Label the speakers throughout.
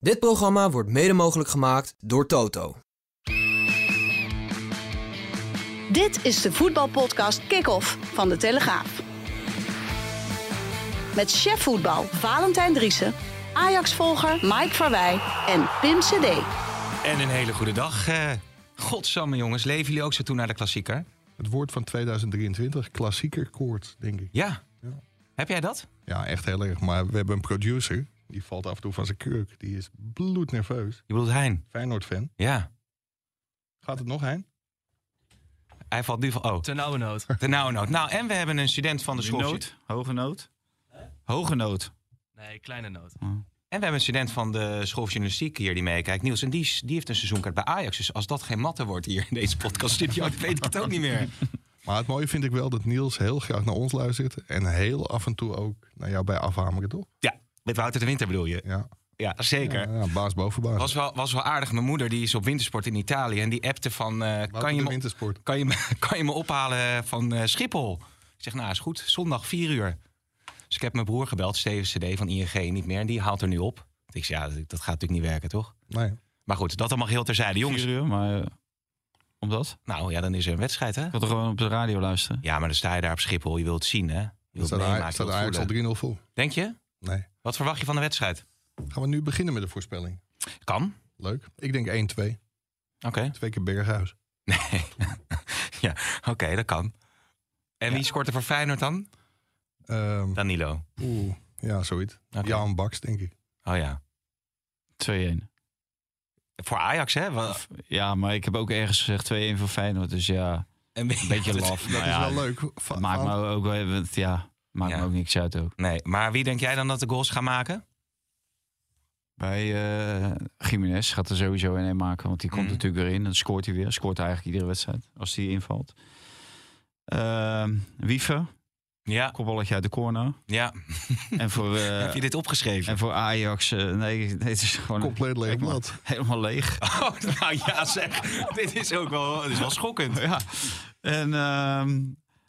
Speaker 1: Dit programma wordt mede mogelijk gemaakt door Toto.
Speaker 2: Dit is de voetbalpodcast Kick-Off van De Telegraaf. Met chef voetbal Valentijn Driessen, Ajax-volger Mike Verwij en Pim CD.
Speaker 3: En een hele goede dag. eh godsamme jongens, leven jullie ook zo toe naar de klassieker?
Speaker 4: Het woord van 2023, klassieker koord, denk ik.
Speaker 3: Ja.
Speaker 4: Ja.
Speaker 3: Heb jij dat?
Speaker 4: Ja, echt heel erg. Maar we hebben een producer, die valt af en toe van zijn kurk. Die is bloednerveus.
Speaker 3: Je bedoelt Hein?
Speaker 4: Feyenoord-fan.
Speaker 3: Ja.
Speaker 4: Gaat het nog heen?
Speaker 3: Hij valt nu van... Oh,
Speaker 5: Ten oude nood.
Speaker 3: de nauwe nood. Nou, en we hebben een student van de school.
Speaker 6: nood? Hoge nood? Hoge nood.
Speaker 5: Nee, kleine nood.
Speaker 3: En we hebben een student van de school van journalistiek hier die meekijkt. Niels, en die, is- die heeft een seizoenkaart bij Ajax. Dus als dat geen matte wordt hier in deze podcaststudio, dan weet ik het ook niet meer.
Speaker 4: Maar het mooie vind ik wel dat Niels heel graag naar ons luistert. En heel af en toe ook naar jou bij afhameren, toch?
Speaker 3: Ja, met Wouter de Winter bedoel je?
Speaker 4: Ja,
Speaker 3: Ja, zeker.
Speaker 4: ja, ja, baas boven baas.
Speaker 3: Was wel, was wel aardig. Mijn moeder die is op wintersport in Italië. En die appte van... eh,
Speaker 4: Wouter
Speaker 3: kan je
Speaker 4: de
Speaker 3: me
Speaker 4: wintersport.
Speaker 3: kan je me, kan je me ophalen van eh, Schiphol? Ik zeg, nou is goed, zondag 4 uur. Dus ik heb mijn broer gebeld, Steven CD van ING, niet meer. En die haalt er nu op. Ik zeg, ja, dat, dat gaat natuurlijk niet werken, toch?
Speaker 4: Nee.
Speaker 3: Maar goed, dat allemaal heel terzijde. Jongens,
Speaker 6: Vier uur, maar eh, omdat? Ik
Speaker 3: nou ja, dan is er een wedstrijd, hè?
Speaker 6: had er gewoon op de radio luisteren.
Speaker 3: Ja, maar dan sta je daar op Schiphol, je wilt het zien, hè? Je
Speaker 4: Dan
Speaker 3: wilt
Speaker 4: staat
Speaker 3: meemaken, je
Speaker 4: Ajax- staat
Speaker 3: wilt
Speaker 4: Ajax al
Speaker 3: voelen.
Speaker 4: 3-0 vol.
Speaker 3: Denk je?
Speaker 4: Nee.
Speaker 3: Wat verwacht je van de wedstrijd?
Speaker 4: Gaan we nu beginnen met de voorspelling.
Speaker 3: Kan.
Speaker 4: Leuk. Ik denk 1-2.
Speaker 3: Oké.
Speaker 4: Twee keer Berghuis.
Speaker 3: Nee. ja, oké, dat kan. En wie scoort er voor Feyenoord dan?
Speaker 4: Ehm,
Speaker 3: Danilo.
Speaker 4: Oeh, ja, zoiets.
Speaker 3: Oké.
Speaker 4: Jan Baks, denk ik.
Speaker 3: Oh ja.
Speaker 6: 2-1.
Speaker 3: Voor Ajax, hè? Wa-
Speaker 6: Ja, maar ik heb ook ergens gezegd 2-1 voor Feyenoord. Dus ja,
Speaker 3: Een
Speaker 6: beetje laf.
Speaker 4: Dat
Speaker 6: Maar
Speaker 4: is
Speaker 6: ja,
Speaker 4: wel leuk. Va-
Speaker 6: het Maakt me
Speaker 4: va-
Speaker 6: ook, wel even- ja, maakt
Speaker 3: Ja.
Speaker 6: me ook niks uit ook.
Speaker 3: Nee, maar wie denk jij dan dat de goals gaan maken?
Speaker 6: Bij eh Jiménez gaat er sowieso een maken. Want die komt
Speaker 3: Mhm.
Speaker 6: natuurlijk weer in. Dan scoort hij weer. Scoort hij eigenlijk iedere wedstrijd. Als hij invalt. Ehm Wiever.
Speaker 3: Ja,
Speaker 6: Kopballetje uit de corner.
Speaker 3: ja.
Speaker 6: En voor, eh,
Speaker 3: Heb je dit opgeschreven?
Speaker 6: en voor Ajax. eh, nee, nee, het is gewoon
Speaker 4: Compleet leeg
Speaker 6: Kijk maar.
Speaker 4: blad.
Speaker 6: helemaal leeg.
Speaker 3: Oh, nou ja, zeg. dit is ook wel, dit is wel schokkend.
Speaker 6: Ja. En ehm,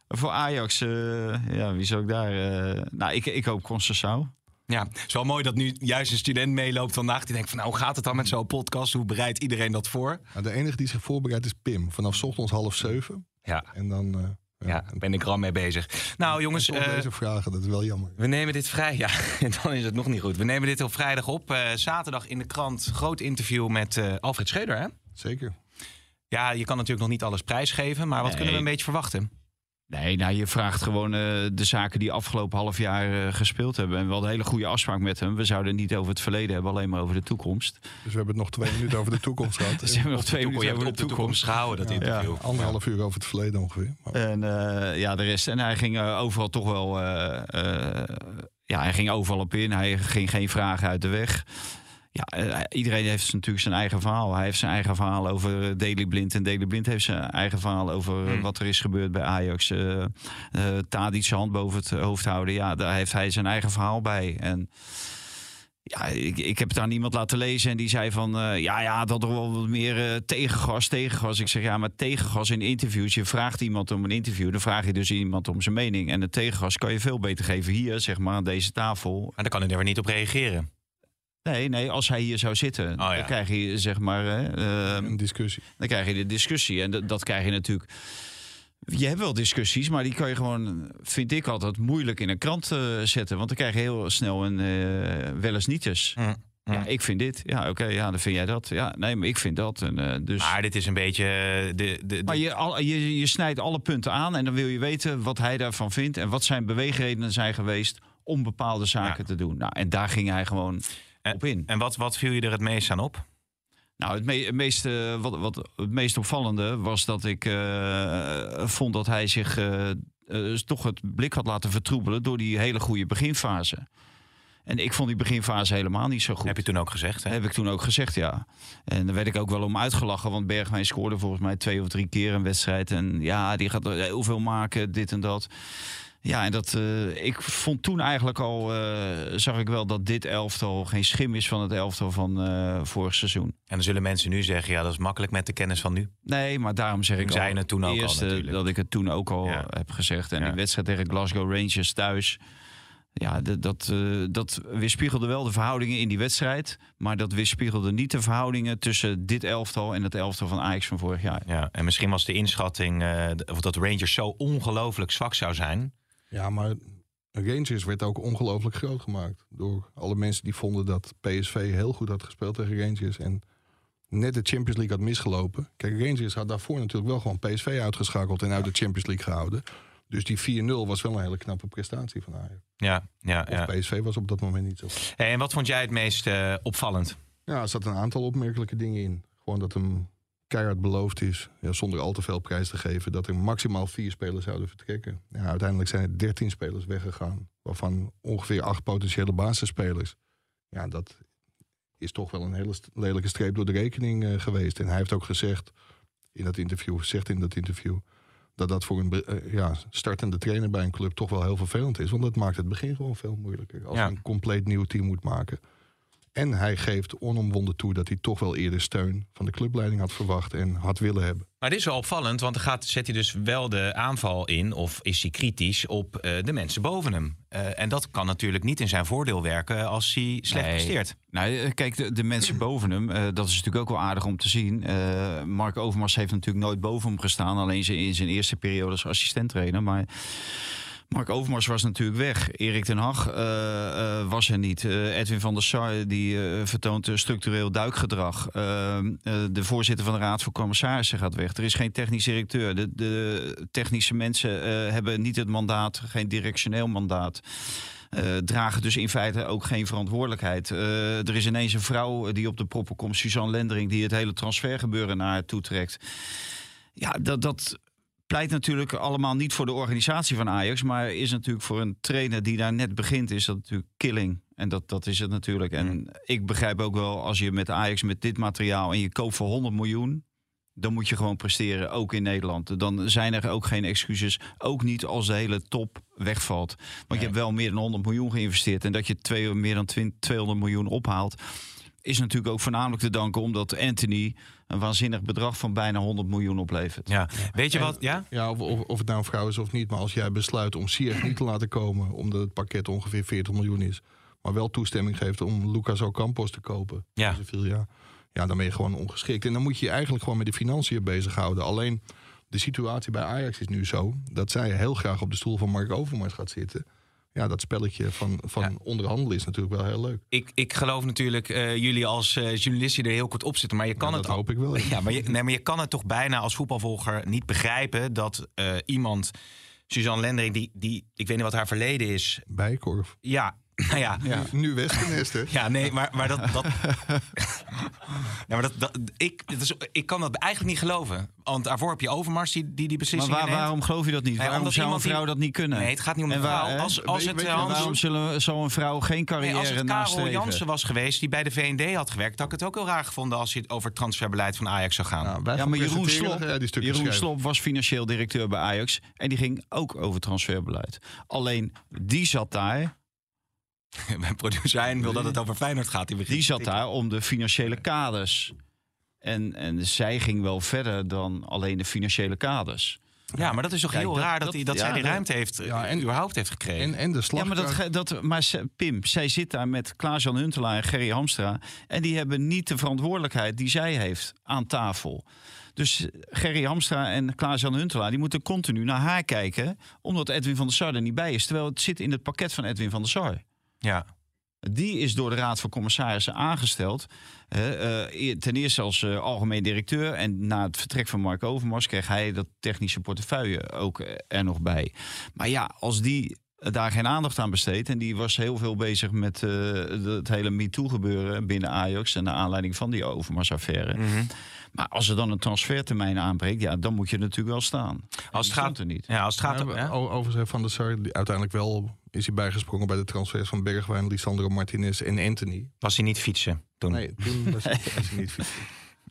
Speaker 6: voor Ajax, eh, ja, wie zou ik daar? eh, nou, ik, ik hoop Constanzao.
Speaker 3: Ja, het is wel mooi dat nu juist een student meeloopt vandaag. Die denkt van, nou, hoe gaat het dan met zo'n podcast? Hoe bereidt iedereen dat voor?
Speaker 4: Nou, de enige die zich voorbereidt is Pim. Vanaf 's ochtends half zeven.
Speaker 3: Ja,
Speaker 4: En dan. eh,
Speaker 3: ja daar ben ik er al mee bezig. Nou, jongens...
Speaker 4: Soms
Speaker 3: eh,
Speaker 4: deze vragen, dat is wel jammer.
Speaker 3: We nemen dit vrij, ja, dan is het nog niet goed. We nemen dit op vrijdag op. Eh, zaterdag in de krant, groot interview met eh, Alfred Schreuder, hè?
Speaker 4: Zeker.
Speaker 3: Ja, je kan natuurlijk nog niet alles prijsgeven, maar wat
Speaker 6: Nee.
Speaker 3: kunnen we een beetje verwachten?
Speaker 6: Nee, nou, je vraagt gewoon eh, de zaken die afgelopen half jaar eh, gespeeld hebben. En we hadden een hele goede afspraak met hem. We zouden het niet over het verleden hebben, alleen maar over de toekomst.
Speaker 4: Dus we hebben het nog twee minuten over de toekomst gehad.
Speaker 6: Dus we hebben nog twee
Speaker 3: Toekomst,
Speaker 6: minuten
Speaker 3: je hebt
Speaker 6: over de
Speaker 3: op de
Speaker 6: toekomst.
Speaker 3: toekomst gehouden, dat interview.
Speaker 4: En Anderhalf uur over het verleden ongeveer. Maar
Speaker 6: En eh, ja, de rest. En hij ging eh, overal toch wel. eh, eh, ja, hij ging overal op in. Hij ging geen vragen uit de weg. Ja, eh, iedereen heeft natuurlijk zijn eigen verhaal. Hij heeft zijn eigen verhaal over eh, Daley Blind. En Daley Blind heeft zijn eigen verhaal over eh,
Speaker 3: Hmm.
Speaker 6: wat er is gebeurd bij Ajax. eh eh Tadic zijn hand boven het hoofd houden. Ja, daar heeft hij zijn eigen verhaal bij. En ja, ik, ik heb het aan iemand laten lezen en die zei van... eh, ja, ja, dat er wel wat meer eh, tegengas, tegengas. Ik zeg, ja, maar tegengas in interviews. Je vraagt iemand om een interview, dan vraag je dus iemand om zijn mening. En het tegengas kan je veel beter geven hier, zeg maar, aan deze tafel.
Speaker 3: Maar daar kan hij er weer niet op reageren.
Speaker 6: Nee, nee, als hij hier zou zitten,
Speaker 3: ja.
Speaker 6: dan krijg je zeg maar, hè, ehm,
Speaker 4: een discussie.
Speaker 6: dan krijg je de discussie. En dat- dat krijg je natuurlijk. Je hebt wel discussies, maar die kan je gewoon, vind ik altijd, moeilijk in een krant eh, zetten. Want dan krijg je heel snel een eh wel eens nietjes.
Speaker 3: Mm, mm.
Speaker 6: Ja, ik vind dit. Ja, oké, ja, dan vind jij dat. Ja, nee, maar ik vind dat. En, eh, dus...
Speaker 3: Maar dit is een beetje eh, de, de,
Speaker 6: Maar
Speaker 3: de-
Speaker 6: je, al, je, je snijdt alle punten aan en dan wil je weten wat hij daarvan vindt en wat zijn beweegredenen zijn geweest om bepaalde zaken
Speaker 3: Ja.
Speaker 6: te doen. Nou, en daar ging hij gewoon op in.
Speaker 3: En wat, wat viel je er het meest aan op?
Speaker 6: Nou, het, me- het meest, eh, wat, wat, het meest opvallende was dat ik eh, vond dat hij zich eh, eh, toch het blik had laten vertroebelen door die hele goede beginfase. En ik vond die beginfase helemaal niet zo goed.
Speaker 3: Heb je toen ook gezegd, hè?
Speaker 6: Heb ik toen ook gezegd, ja. En daar werd ik ook wel om uitgelachen, want Bergwijn scoorde volgens mij twee of drie keer een wedstrijd. En ja, die gaat er heel veel maken, dit en dat. Ja, en dat, eh, ik vond toen eigenlijk al, eh, zag ik wel dat dit elftal geen schim is van het elftal van eh, vorig seizoen.
Speaker 3: En dan zullen mensen nu zeggen, ja, dat is makkelijk met de kennis van nu.
Speaker 6: Nee, maar daarom zeg ik
Speaker 3: Toen zei je het toen ook al
Speaker 6: eerst, eh,
Speaker 3: natuurlijk.
Speaker 6: dat ik het toen ook al
Speaker 3: Ja.
Speaker 6: heb gezegd. En
Speaker 3: Ja.
Speaker 6: die wedstrijd tegen Glasgow Rangers thuis. ja, d- dat, eh, dat weerspiegelde wel de verhoudingen in die wedstrijd. Maar dat weerspiegelde niet de verhoudingen tussen dit elftal en het elftal van Ajax van vorig jaar.
Speaker 3: Ja, en misschien was de inschatting eh, d- of dat Rangers zo ongelooflijk zwak zou zijn.
Speaker 4: Ja, maar Rangers werd ook ongelooflijk groot gemaakt. Door alle mensen die vonden dat PSV heel goed had gespeeld tegen Rangers. En net de Champions League had misgelopen. Kijk, Rangers had daarvoor natuurlijk wel gewoon PSV uitgeschakeld en uit de Champions League gehouden. Dus die 4-0 was wel een hele knappe prestatie van Ajax.
Speaker 3: Ja, ja,
Speaker 4: Of
Speaker 3: ja.
Speaker 4: PSV was op dat moment niet zo. goed.
Speaker 3: Hey, en wat vond jij het meest eh, opvallend?
Speaker 4: Ja, er zat een aantal opmerkelijke dingen in. Gewoon dat hem keihard beloofd is, ja, zonder al te veel prijs te geven, dat er maximaal vier spelers zouden vertrekken. Ja, uiteindelijk zijn er dertien spelers weggegaan, waarvan ongeveer acht potentiële basisspelers. Ja, dat is toch wel een hele st- lelijke streep door de rekening eh, geweest. En hij heeft ook gezegd in dat interview, zegt in dat interview, dat dat voor een be- eh, ja, startende trainer bij een club toch wel heel vervelend is. Want dat maakt het begin gewoon veel moeilijker. Als
Speaker 3: Ja.
Speaker 4: je een compleet nieuw team moet maken. En hij geeft onomwonden toe dat hij toch wel eerder steun van de clubleiding had verwacht en had willen hebben.
Speaker 3: Maar Nou, dit is wel opvallend, want dan gaat, zet hij dus wel de aanval in... of is hij kritisch op eh, de mensen boven hem. Eh, en dat kan natuurlijk niet in zijn voordeel werken als hij slecht
Speaker 6: Nee.
Speaker 3: presteert.
Speaker 6: Nou, eh, kijk, de, de mensen boven hem, eh, dat is natuurlijk ook wel aardig om te zien. Eh, Mark Overmars heeft natuurlijk nooit boven hem gestaan, alleen ze- in zijn eerste periode als assistent trainer. Maar Mark Overmars was natuurlijk weg. Erik ten Hag eh, eh, was er niet. Eh, Edwin van der Sar die eh, vertoont eh, structureel duikgedrag. Eh, eh, de voorzitter van de Raad voor Commissarissen gaat weg. Er is geen technisch directeur. De, de technische mensen eh, hebben niet het mandaat, geen directioneel mandaat. Eh, dragen dus in feite ook geen verantwoordelijkheid. Eh, er is ineens een vrouw eh, die op de proppen komt, Suzanne Lendering, die het hele transfergebeuren naar haar toe trekt. Ja, dat, dat pleit natuurlijk allemaal niet voor de organisatie van Ajax, maar is natuurlijk voor een trainer die daar net begint, is dat natuurlijk killing. En dat, dat is het natuurlijk. En ik begrijp ook wel, als je met Ajax met dit materiaal en je koopt voor 100 miljoen, dan moet je gewoon presteren, ook in Nederland. Dan zijn er ook geen excuses, ook niet als de hele top wegvalt. Want je hebt wel meer dan 100 miljoen geïnvesteerd en dat je twee, meer dan 20 200 miljoen ophaalt, is natuurlijk ook voornamelijk te danken omdat Anthony een waanzinnig bedrag van bijna 100 miljoen oplevert.
Speaker 3: Ja. Weet je wat? Ja?
Speaker 4: Ja, of, of, of het nou een vrouw is of niet, maar als jij besluit om Sieg niet te laten komen, omdat het pakket ongeveer 40 miljoen is, maar wel toestemming geeft om Lucas Ocampos te kopen,
Speaker 3: Ja.
Speaker 4: voor zoveel, ja. ja, dan ben je gewoon ongeschikt. En dan moet je je eigenlijk gewoon met de financiën bezighouden. Alleen de situatie bij Ajax is nu zo dat zij heel graag op de stoel van Mark Overmars gaat zitten. Ja, dat spelletje van, van onderhandelen is natuurlijk wel heel leuk.
Speaker 3: Ik, ik geloof natuurlijk eh, jullie als eh, journalisten die er heel kort op zitten, maar je kan
Speaker 4: Ja,
Speaker 3: het
Speaker 4: dat
Speaker 3: al-
Speaker 4: hoop ik wel.
Speaker 3: Ja, maar je, nee, maar je kan het toch bijna als voetbalvolger niet begrijpen dat eh, iemand, Suzanne Lendering, die, die, ik weet niet wat haar verleden is.
Speaker 4: Bijkorf.
Speaker 3: Ja, nou ja. Ja,
Speaker 4: Nu Westernest, hè?
Speaker 3: nee, maar, maar dat. dat ja, maar dat, dat, ik, dat is, ik kan dat eigenlijk niet geloven. Want daarvoor heb je Overmars die die, die
Speaker 6: Maar
Speaker 3: beslissingen
Speaker 6: waar-
Speaker 3: neemt.
Speaker 6: waarom geloof je dat niet?
Speaker 3: Nee,
Speaker 6: waarom
Speaker 3: omdat
Speaker 6: zou een
Speaker 3: iemand die-
Speaker 6: vrouw dat niet kunnen?
Speaker 3: Nee, het gaat niet om de
Speaker 6: En waar-
Speaker 3: vrouw.
Speaker 6: hè?
Speaker 3: Als, als
Speaker 4: Weet-
Speaker 3: het
Speaker 4: weet je
Speaker 3: eh, Hans-
Speaker 6: waarom zullen, zou een vrouw geen
Speaker 3: Nee,
Speaker 6: carrière
Speaker 3: als het Karel
Speaker 6: nastreven?
Speaker 3: Jansen was geweest die bij de VND had gewerkt, had ik het ook heel raar gevonden als je het over het transferbeleid van Ajax zou gaan.
Speaker 4: Nou, wij
Speaker 6: ja,
Speaker 4: gaan
Speaker 6: maar Jeroen
Speaker 4: presenteren.
Speaker 6: Slop,
Speaker 4: Ja, die stukken
Speaker 6: Jeroen
Speaker 4: schrijven.
Speaker 6: Slop was financieel directeur bij Ajax. En die ging ook over transferbeleid. Alleen die zat daar,
Speaker 3: Mijn producent wil dat het over Feyenoord gaat. Die, begint
Speaker 6: die
Speaker 3: te
Speaker 6: zat
Speaker 3: tikken.
Speaker 6: daar om de financiële kaders. En, en zij ging wel verder dan alleen de financiële kaders.
Speaker 3: Ja, maar dat is toch
Speaker 6: Kijk,
Speaker 3: heel
Speaker 6: dat-
Speaker 3: raar dat,
Speaker 6: dat-
Speaker 3: hij- dat zij
Speaker 6: ja,
Speaker 3: die
Speaker 6: dat-
Speaker 3: ruimte heeft,
Speaker 4: Ja, en-
Speaker 3: en, überhaupt heeft gekregen.
Speaker 4: En, en de
Speaker 6: Ja, maar,
Speaker 4: slagkracht.
Speaker 6: dat, ge- dat, maar ze- Pim, zij zit daar met Klaas-Jan Huntelaar en Gerry Hamstra. En die hebben niet de verantwoordelijkheid die zij heeft aan tafel. Dus Gerry Hamstra en Klaas-Jan Huntelaar... die moeten continu naar haar kijken... omdat Edwin van der Sar er niet bij is. Terwijl het zit in het pakket van Edwin van der Sar.
Speaker 3: ja.
Speaker 6: Die is door de Raad van Commissarissen aangesteld. hè, eh, eer- ten eerste als eh, algemeen directeur. En na het vertrek van Mark Overmars kreeg hij dat technische portefeuille ook eh, er nog bij. Maar ja, als die daar geen aandacht aan besteedt. En die was heel veel bezig met eh, de- het hele MeToo-gebeuren binnen Ajax. En naar aanleiding van die Overmars-affaire.
Speaker 3: Mhm.
Speaker 6: Maar als er dan een transfertermijn aanbreekt. Ja, dan moet je er natuurlijk wel staan.
Speaker 3: Als
Speaker 6: Die
Speaker 3: het
Speaker 6: stond
Speaker 3: gaat,
Speaker 6: er niet.
Speaker 3: Ja, als het gaat
Speaker 4: Ja,
Speaker 3: hè?
Speaker 4: o- Overigens heeft Van der Sar die- uiteindelijk wel is hij bijgesprongen bij de transfers van Bergwijn, Lisandro Martinez en Anthony.
Speaker 3: was hij niet fietsen toen.
Speaker 4: Nee, toen was, was hij niet fit.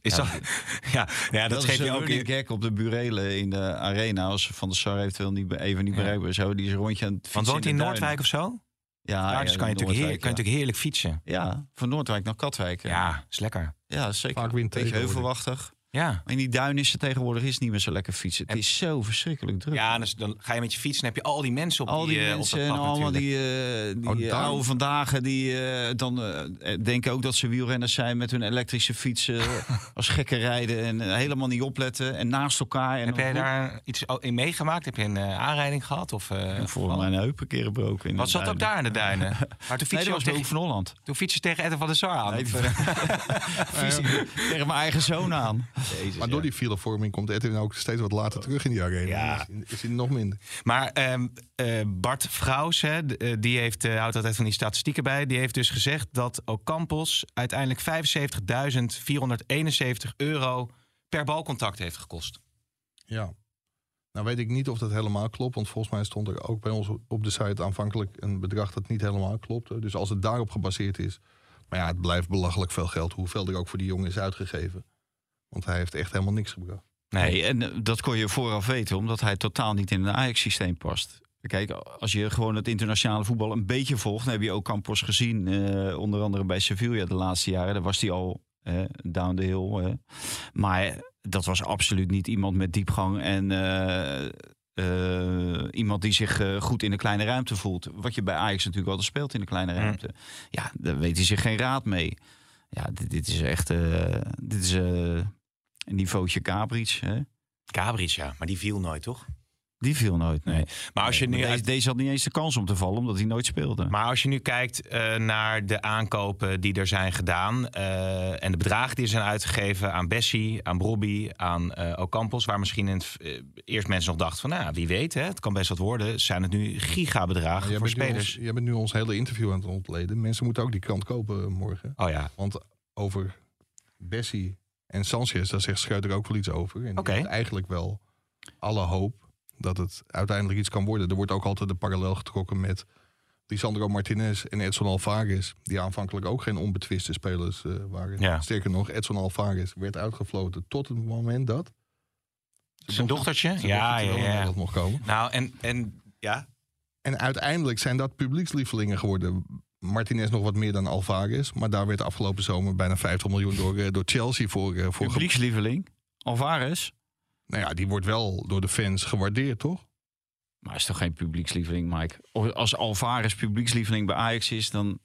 Speaker 3: Is dat, ja, ja, dat,
Speaker 6: Dat,
Speaker 3: geef
Speaker 6: is
Speaker 3: je
Speaker 6: een
Speaker 3: ook
Speaker 6: running
Speaker 3: in.
Speaker 6: gag op de burelen in de arena. Als Van der Sar eventueel niet, be- even niet bereikbaar zou, die is een rondje aan het fietsen
Speaker 3: Want woont hij in
Speaker 6: de
Speaker 3: Noordwijk
Speaker 6: duinen. Ah,
Speaker 3: of zo?
Speaker 6: Ja,
Speaker 3: ja, dus kan je, natuurlijk heerlijk, kan je
Speaker 6: Noordwijk,
Speaker 3: natuurlijk heerlijk fietsen.
Speaker 6: ja. Ja, van Noordwijk naar Katwijk.
Speaker 3: Ja,
Speaker 6: Ja,
Speaker 3: is lekker.
Speaker 6: ja zeker.
Speaker 4: Vaak wint
Speaker 6: Beetje
Speaker 4: tegenwoordig.
Speaker 6: heuvelwachtig.
Speaker 3: Ja.
Speaker 6: In die duin is het tegenwoordig is het niet meer zo lekker fietsen. Het
Speaker 3: En-
Speaker 6: is zo verschrikkelijk druk.
Speaker 3: Ja, dus dan ga je met je fiets en heb je al die mensen op
Speaker 6: Al die
Speaker 3: eh, op
Speaker 6: mensen
Speaker 3: dat
Speaker 6: en
Speaker 3: pad
Speaker 6: allemaal
Speaker 3: natuurlijk.
Speaker 6: die, eh, die
Speaker 4: Oh,
Speaker 6: eh,
Speaker 4: daar.
Speaker 6: oude vandaag die eh, dan eh, denken ook dat ze wielrenners zijn met hun elektrische fietsen als gekken rijden en eh, helemaal niet opletten en naast elkaar. En
Speaker 3: Heb
Speaker 6: dan-
Speaker 3: jij daar iets o- in meegemaakt? Heb je een eh, aanrijding gehad? Of, eh,
Speaker 6: En voor
Speaker 3: gevallen?
Speaker 6: mijn heup een keer gebroken. in
Speaker 3: Wat
Speaker 6: de
Speaker 3: zat ook
Speaker 6: duinen.
Speaker 3: daar in de duinen? Maar toen
Speaker 6: Nee,
Speaker 3: fiets
Speaker 6: dat
Speaker 3: je, ook
Speaker 6: was bij Hoek
Speaker 3: tegen,
Speaker 6: van Holland.
Speaker 3: toen fiets je tegen Edwin van der Sar aan.
Speaker 6: Nee,
Speaker 3: Of,
Speaker 6: dat-
Speaker 3: eh,
Speaker 6: Vies- tegen mijn eigen zoon aan.
Speaker 4: Maar door die filevorming komt Edwin ook steeds wat later terug in die arena.
Speaker 3: Ja.
Speaker 4: Is, is hij nog minder.
Speaker 3: Maar ehm, eh, Bart Vrouws, hè, d- eh, die heeft, eh, houdt altijd van die statistieken bij. Die heeft dus gezegd dat Ocampos uiteindelijk 75.471 euro per balcontact heeft gekost.
Speaker 4: Ja. Nou weet ik niet of dat helemaal klopt. Want volgens mij stond er ook bij ons op de site aanvankelijk een bedrag dat niet helemaal klopte. Dus als het daarop gebaseerd is. Maar ja, het blijft belachelijk veel geld. Hoeveel er ook voor die jongen is uitgegeven. Want hij heeft echt helemaal niks gebracht.
Speaker 6: Nee, en eh, dat kon je vooraf weten, omdat hij totaal niet in het Ajax-systeem past. Kijk, als je gewoon het internationale voetbal een beetje volgt, dan heb je ook Campos gezien, eh, onder andere bij Sevilla de laatste jaren. Daar was hij al eh, down the hill. eh. Maar eh, dat was absoluut niet iemand met diepgang en eh, eh, iemand die zich eh, goed in de kleine ruimte voelt. Wat je bij Ajax natuurlijk altijd speelt in de kleine
Speaker 3: Mm.
Speaker 6: ruimte. Ja, daar weet hij zich geen raad mee. Ja, dit, dit is echt, eh, dit is eh, een niveautje Cabriets, hè?
Speaker 3: Cabris, ja, maar die viel nooit, toch?
Speaker 6: Die viel nooit, nee.
Speaker 3: Maar als je
Speaker 6: Nee,
Speaker 3: nu,
Speaker 6: maar deze, deze had niet eens de kans om te vallen, omdat hij nooit speelde.
Speaker 3: maar als je nu kijkt eh, naar de aankopen die er zijn gedaan... eh, en de bedragen die er zijn uitgegeven aan Bessie, aan Bobby, aan eh, Ocampos... waar misschien in het, v- eh, eerst mensen nog dachten van, nou, wie weet, hè, het kan best wat worden... zijn het nu
Speaker 4: Maar
Speaker 3: gigabedragen
Speaker 4: jij
Speaker 3: voor
Speaker 4: bent nu
Speaker 3: spelers.
Speaker 4: ons- jij bent nu ons hele interview aan het ontleden. Mensen moeten ook die krant kopen morgen.
Speaker 3: Oh ja,
Speaker 4: Want over Bessie en Sanchez, daar zegt Schuiter ook wel iets over. En die
Speaker 3: Oké.
Speaker 4: heeft eigenlijk wel alle hoop dat het uiteindelijk iets kan worden. Er wordt ook altijd de parallel getrokken met Lisandro Martinez en Edson Alvarez. Die aanvankelijk ook geen onbetwiste spelers eh, waren.
Speaker 3: Ja.
Speaker 4: Sterker nog, Edson Alvarez werd uitgefloten tot het moment dat...
Speaker 3: Zijn dochtertje?
Speaker 4: zijn
Speaker 3: Ja,
Speaker 4: dochtertje wel
Speaker 3: ja,
Speaker 4: naar
Speaker 3: ja.
Speaker 4: Nederland mocht komen.
Speaker 3: Nou, en, en ja?
Speaker 4: En uiteindelijk zijn dat publiekslievelingen geworden. Martinez nog wat meer dan Alvarez. Maar daar werd afgelopen zomer bijna 50 miljoen door, eh, door Chelsea voor, eh, voor ge-
Speaker 6: Publiekslieveling, Alvarez.
Speaker 4: Nou ja, die wordt wel door de fans gewaardeerd, toch?
Speaker 6: Maar is toch geen publiekslieveling, Mike? O- Als Alvarez publiekslieveling bij Ajax is, dan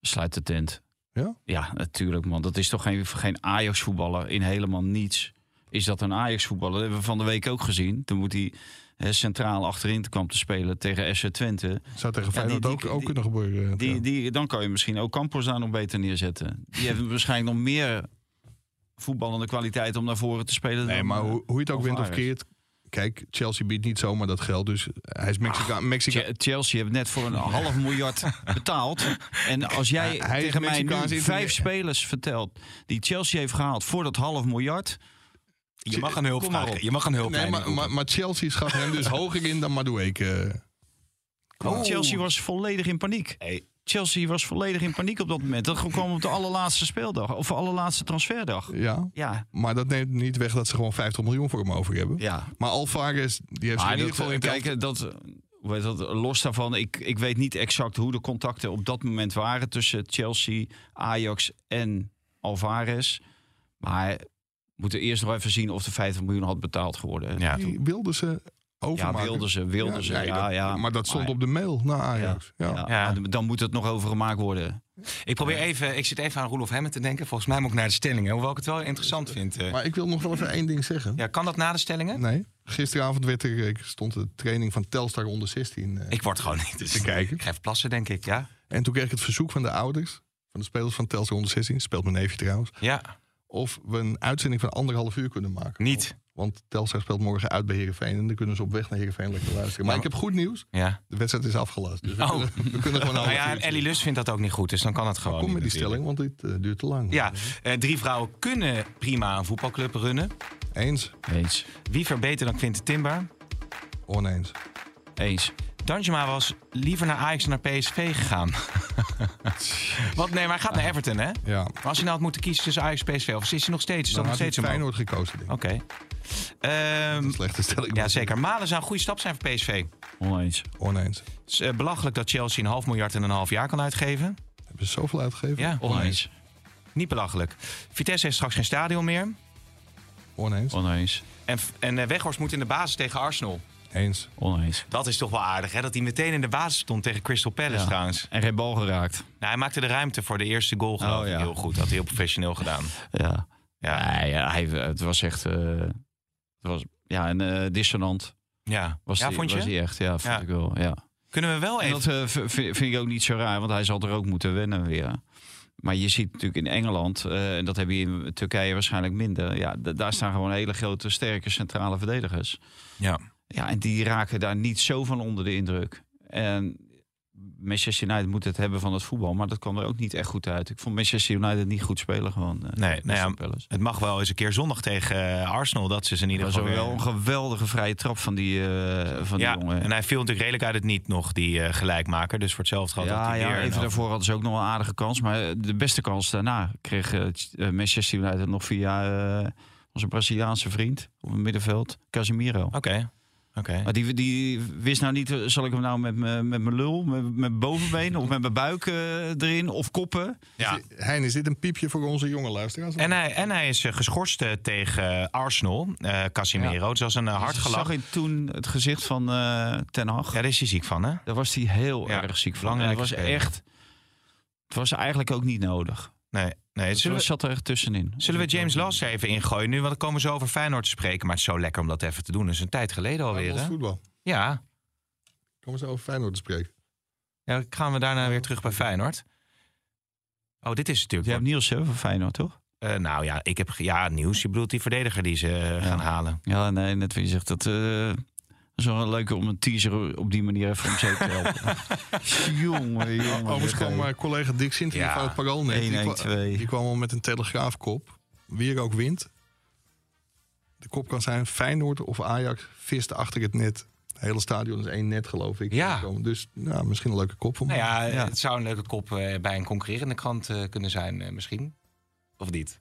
Speaker 6: sluit de tent.
Speaker 4: Ja?
Speaker 6: Ja, natuurlijk man. Dat is toch geen, geen Ajax-voetballer in helemaal niets. Is dat een Ajax-voetballer? Dat hebben we van de week ook gezien. Toen moet hij eh, centraal achterin kwam te spelen tegen SC Twente.
Speaker 4: Zou tegen
Speaker 6: Ja, die-
Speaker 4: Feyenoord
Speaker 6: die-
Speaker 4: ook,
Speaker 6: die-
Speaker 4: ook kunnen gebeuren. eh,
Speaker 6: Die,
Speaker 4: trouwens.
Speaker 6: die, dan kan je misschien ook Campos daar nog beter neerzetten. Die heeft waarschijnlijk nog meer voetballende kwaliteit om naar voren te spelen.
Speaker 4: nee,
Speaker 6: dan,
Speaker 4: maar
Speaker 6: eh,
Speaker 4: hoe, hoe je het ook wint of
Speaker 6: Alvarez.
Speaker 4: keert... Kijk, Chelsea biedt niet zomaar dat geld. Dus hij is Mexica Mexica
Speaker 6: Che- Chelsea heeft net voor een half miljard betaald. En als jij
Speaker 4: Hij- hij is
Speaker 6: tegen mij
Speaker 4: Mexicaans
Speaker 6: nu
Speaker 4: interna-
Speaker 6: vijf spelers vertelt die Chelsea heeft gehaald voor dat half miljard.
Speaker 3: Je mag een hulp
Speaker 6: Kom maar op.
Speaker 3: vragen. Je mag een hulp
Speaker 4: Nee, maar, maar, maar Chelsea schat hem dus hoger in dan Madueke. Oh.
Speaker 6: want Chelsea was volledig in paniek. Chelsea was volledig in paniek op dat moment. Dat kwam op de allerlaatste speeldag of allerlaatste transferdag.
Speaker 4: eh, Ja,
Speaker 6: Ja,
Speaker 4: maar dat neemt niet weg dat ze gewoon 50 miljoen voor hem over hebben.
Speaker 6: ja.
Speaker 4: Maar Alvarez, die heeft zich
Speaker 6: Maar
Speaker 4: in
Speaker 6: dat,
Speaker 4: ieder geval in
Speaker 6: kijk,
Speaker 4: kijken.
Speaker 6: eh, dat, eh, hoe heet dat, los daarvan, ik, ik weet niet exact hoe de contacten op dat moment waren tussen Chelsea, Ajax en Alvarez. Maar we moeten eerst nog even zien of de 50 miljoen had betaald geworden.
Speaker 3: Ja.
Speaker 4: Die wilden ze
Speaker 6: Ja,
Speaker 4: overmaken.
Speaker 6: wilden ze, wilden ze.
Speaker 4: nee,
Speaker 6: ja,
Speaker 4: dat-
Speaker 6: ja.
Speaker 4: Maar dat stond op de mail naar Ajax. Ja.
Speaker 6: Ja,
Speaker 3: Ja.
Speaker 6: maar Dan moet het nog overgemaakt worden.
Speaker 3: Ik probeer even, ik zit even aan Roelof Hemmen te denken. Volgens mij moet ik naar de stellingen, hoewel ik het wel interessant vind. eh.
Speaker 4: Maar ik wil nog wel even één ding zeggen.
Speaker 3: Ja, kan dat na de stellingen?
Speaker 4: Nee. Gisteravond werd er, eh, stond de training van Telstar onder 16. eh,
Speaker 3: Ik word gewoon niet. Dus
Speaker 4: Even kijken.
Speaker 3: Ik ga even plassen, denk ik. Ja,
Speaker 4: En toen kreeg ik het verzoek van de ouders, van de spelers van Telstar onder 16, speelt mijn neefje trouwens,
Speaker 3: ja.
Speaker 4: of we een uitzending van anderhalf uur kunnen maken.
Speaker 3: niet.
Speaker 4: Want Telstar speelt morgen uit bij Heerenveen en dan kunnen ze op weg naar Heerenveen lekker luisteren. Maar ik heb goed nieuws,
Speaker 3: Ja.
Speaker 4: de wedstrijd is afgelast. Dus we,
Speaker 3: Oh.
Speaker 4: kunnen, we kunnen gewoon
Speaker 3: Nou ja,
Speaker 4: anderhalf
Speaker 3: en
Speaker 4: uur.
Speaker 3: Ellie Lust vindt dat ook niet goed, dus dan kan het gewoon.
Speaker 4: Kom
Speaker 3: niet
Speaker 4: met die
Speaker 3: natuurlijk.
Speaker 4: stelling, want dit eh, duurt te lang.
Speaker 3: Ja, eh, drie vrouwen kunnen prima een voetbalclub runnen.
Speaker 4: Eens?
Speaker 6: Eens.
Speaker 3: Wie verbeter dan Quinten Timber?
Speaker 4: Oneens.
Speaker 6: Eens.
Speaker 3: Danjuma was liever naar Ajax dan naar PSV gegaan. Want nee, maar hij gaat naar Everton, hè?
Speaker 4: Ja.
Speaker 3: Maar als je nou had moeten kiezen tussen Ajax en PSV, of is hij nog steeds? Is dat
Speaker 6: Nou,
Speaker 3: nog
Speaker 4: Dan had ik
Speaker 3: steeds een man?
Speaker 4: Feyenoord gekozen, denk ik.
Speaker 3: Oké. Ehm
Speaker 4: Slechte stelling.
Speaker 3: ja, zeker. Malen zou een goede stap zijn voor PSV.
Speaker 6: Oneens.
Speaker 4: Oneens.
Speaker 3: Het is eh, belachelijk dat Chelsea een half miljard in een half jaar kan uitgeven.
Speaker 4: Hebben ze zoveel uitgegeven?
Speaker 3: Ja,
Speaker 6: Oneens.
Speaker 3: niet belachelijk. Vitesse heeft straks geen stadion meer.
Speaker 4: Oneens.
Speaker 6: Oneens.
Speaker 3: En, en eh, Weghorst moet in de basis tegen Arsenal.
Speaker 4: Eens.
Speaker 6: Oneens.
Speaker 3: Dat is toch wel aardig, hè? Dat hij meteen in de basis stond tegen Crystal Palace
Speaker 6: Ja.
Speaker 3: trouwens.
Speaker 6: En geen bal geraakt.
Speaker 3: Nou, hij maakte de ruimte voor de eerste goal geloof
Speaker 6: Oh,
Speaker 3: ik
Speaker 6: ja.
Speaker 3: heel goed. Dat had hij heel professioneel gedaan.
Speaker 6: Ja.
Speaker 3: Ja,
Speaker 6: Nee, ja, hij, het was echt... eh, het was, ja, en eh, dissonant
Speaker 3: ja.
Speaker 6: was,
Speaker 3: ja
Speaker 6: die,
Speaker 3: vond
Speaker 6: was
Speaker 3: je?
Speaker 6: die echt. Ja, vond
Speaker 3: Ja.
Speaker 6: ik wel. Ja.
Speaker 3: Kunnen we wel
Speaker 6: En
Speaker 3: even...
Speaker 6: dat eh, v- v- vind ik ook niet zo raar, want hij zal er ook moeten wennen weer. Maar je ziet natuurlijk in Engeland, eh, en dat heb je in Turkije waarschijnlijk minder. Ja, d- daar staan gewoon hele grote, sterke centrale verdedigers.
Speaker 3: Ja.
Speaker 6: Ja, en die raken daar niet zo van onder de indruk. En Manchester United moet het hebben van het voetbal, maar dat kwam er ook niet echt goed uit. Ik vond Manchester United niet goed spelen gewoon. eh,
Speaker 3: Nee, nou ja,
Speaker 6: Crystal Palace.
Speaker 3: Het mag wel eens een keer zondag tegen eh, Arsenal. Dat ze ze in ieder
Speaker 6: Dat was
Speaker 3: geval
Speaker 6: ook
Speaker 3: weer-
Speaker 6: wel een geweldige vrije trap van die, eh, van die
Speaker 3: Ja,
Speaker 6: jongen.
Speaker 3: en hij viel natuurlijk redelijk uit het niet nog, die eh, gelijkmaker. Dus voor hetzelfde geld had
Speaker 6: Ja,
Speaker 3: hij
Speaker 6: ja
Speaker 3: weer... Nou.
Speaker 6: even
Speaker 3: een-
Speaker 6: daarvoor hadden ze ook nog wel een aardige kans. Maar eh, de beste kans daarna kreeg eh, Ch- eh, Manchester United nog via eh, onze Braziliaanse vriend op het middenveld, Casemiro.
Speaker 3: Oké, oké.
Speaker 6: Maar die, die wist nou niet, eh, zal ik hem nou met mijn met mijn lul, met mijn bovenbeen of met mijn buik eh, erin of koppen?
Speaker 3: Ja.
Speaker 4: Is dit- Hein, is dit een piepje voor onze jonge luisteraars?
Speaker 3: En hij, en hij is eh, geschorst eh, tegen eh, Arsenal, eh, Casimiro. Dus dat is een eh, hard
Speaker 6: Dus
Speaker 3: gelach.
Speaker 6: zag je toen het gezicht van eh, Ten Hag?
Speaker 3: Ja, daar is hij ziek van, hè?
Speaker 6: Daar was hij heel
Speaker 3: Ja,
Speaker 6: erg ziek van. En Het
Speaker 3: belangrijke
Speaker 6: was
Speaker 3: speler.
Speaker 6: echt, het was eigenlijk ook niet nodig.
Speaker 3: Nee, nee.
Speaker 6: Het
Speaker 3: Zullen we,
Speaker 6: zat er echt tussenin.
Speaker 3: zullen we James Lass even ingooien nu? Want dan komen we zo over Feyenoord te spreken. Maar het is zo lekker om dat even te doen. Dat is een tijd geleden alweer,
Speaker 4: Nederlands
Speaker 3: hè?
Speaker 4: voetbal.
Speaker 3: Ja.
Speaker 4: Kom eens over Feyenoord te spreken.
Speaker 3: ja, gaan we daarna weer terug bij Feyenoord. Oh, dit is natuurlijk...
Speaker 6: Je hebt Niels hè, van Feyenoord, toch?
Speaker 3: Eh, nou ja, ik heb ge- ja, nieuws. Je bedoelt die verdediger die ze eh, gaan halen.
Speaker 6: Ja, nee, net wie zegt dat. eh, dat is wel een leuke om een teaser op die manier even om zeep te helpen. jongen, jongen.
Speaker 4: Overigens kwam eh, collega Dick Sinter
Speaker 3: Ja.
Speaker 4: die van het Parool net. Die, kwa-
Speaker 6: 1-1-2.
Speaker 4: die kwam al met een telegraafkop. Wie er ook wint. De kop kan zijn Feyenoord of Ajax viste achter het net. Het hele stadion is één net, geloof ik.
Speaker 3: Ja.
Speaker 4: Dus nou, misschien een leuke kop voor
Speaker 3: Nou
Speaker 4: mij.
Speaker 3: ja, het zou een leuke kop eh, bij een concurrerende krant eh, kunnen zijn, eh, misschien. Of niet?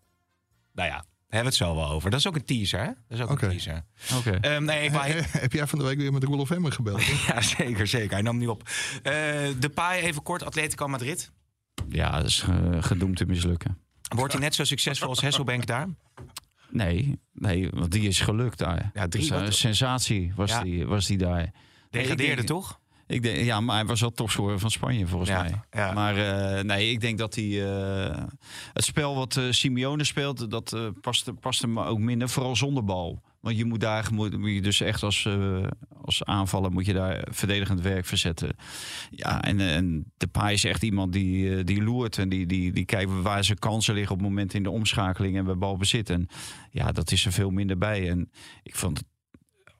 Speaker 3: Nou ja, daar hebben we het zo wel over. Dat is ook een teaser, hè? Dat is ook
Speaker 4: Oké.
Speaker 3: een teaser.
Speaker 6: Oké.
Speaker 3: Ehm, nee, ik wou...
Speaker 4: Heb jij van de week weer met Roelof Emmer gebeld?
Speaker 3: Ja, zeker, zeker. Hij nam niet op. De Depay, even kort, Atletico Madrid.
Speaker 6: Ja, dat is eh, gedoemd te mislukken.
Speaker 3: Wordt hij net zo succesvol als Hesselbank daar?
Speaker 6: Nee, nee, want die is gelukt daar.
Speaker 3: Ja, drie,
Speaker 6: Dat is een
Speaker 3: wat-
Speaker 6: sensatie was,
Speaker 3: Ja.
Speaker 6: die, was die daar.
Speaker 3: Degradeerde
Speaker 6: denk-
Speaker 3: toch?
Speaker 6: Ik denk, ja, maar hij was wel topscorer van Spanje volgens
Speaker 3: Ja,
Speaker 6: mij.
Speaker 3: ja.
Speaker 6: Maar eh, nee, ik denk dat hij eh, het spel wat eh, Simeone speelt, dat eh, past, past hem ook minder, vooral zonder bal. Want je moet daar moet, moet je dus echt als, eh, als aanvaller moet je daar verdedigend werk verzetten. Ja, en, eh, en Depay is echt iemand die, eh, die loert en die, die, die kijkt waar zijn kansen liggen op het moment in de omschakeling en bij balbezit. En ja, dat is er veel minder bij. En ik vond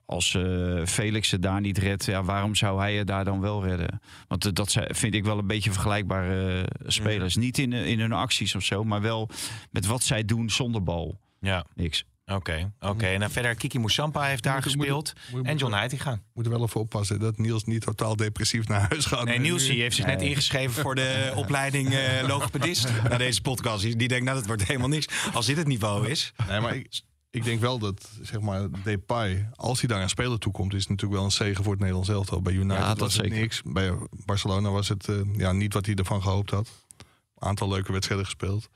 Speaker 6: als eh, Felix het daar niet redt, ja, waarom zou hij het daar dan wel redden? Want eh, dat zijn- vind ik wel een beetje vergelijkbare eh, spelers.
Speaker 3: Mm.
Speaker 6: Niet in, eh, in hun acties of zo, maar wel met wat zij doen zonder bal.
Speaker 3: Ja,
Speaker 6: Niks.
Speaker 3: oké. oké. En dan verder, Kiki Moussampa heeft daar
Speaker 4: Moet- moet-
Speaker 3: gespeeld.
Speaker 4: moet-
Speaker 3: en John Heitinga.
Speaker 4: Moet er wel even oppassen dat Niels niet totaal depressief naar huis gaat.
Speaker 3: Nee,
Speaker 4: En
Speaker 3: Niels die heeft zich net ingeschreven voor de opleiding eh, logopedist. Na deze podcast. Die die denkt, nou, dat wordt helemaal niks. Als dit het niveau is.
Speaker 4: Nee, maar ik, ik denk wel dat zeg maar, Depay, als hij daar een speler toe komt, is het natuurlijk wel een zegen voor het Nederlands elftal. Bij United
Speaker 6: Ja, dat
Speaker 4: was het
Speaker 6: zeker.
Speaker 4: niks. Bij Barcelona was het eh, ja, niet wat hij ervan gehoopt had. Een aantal leuke wedstrijden gespeeld.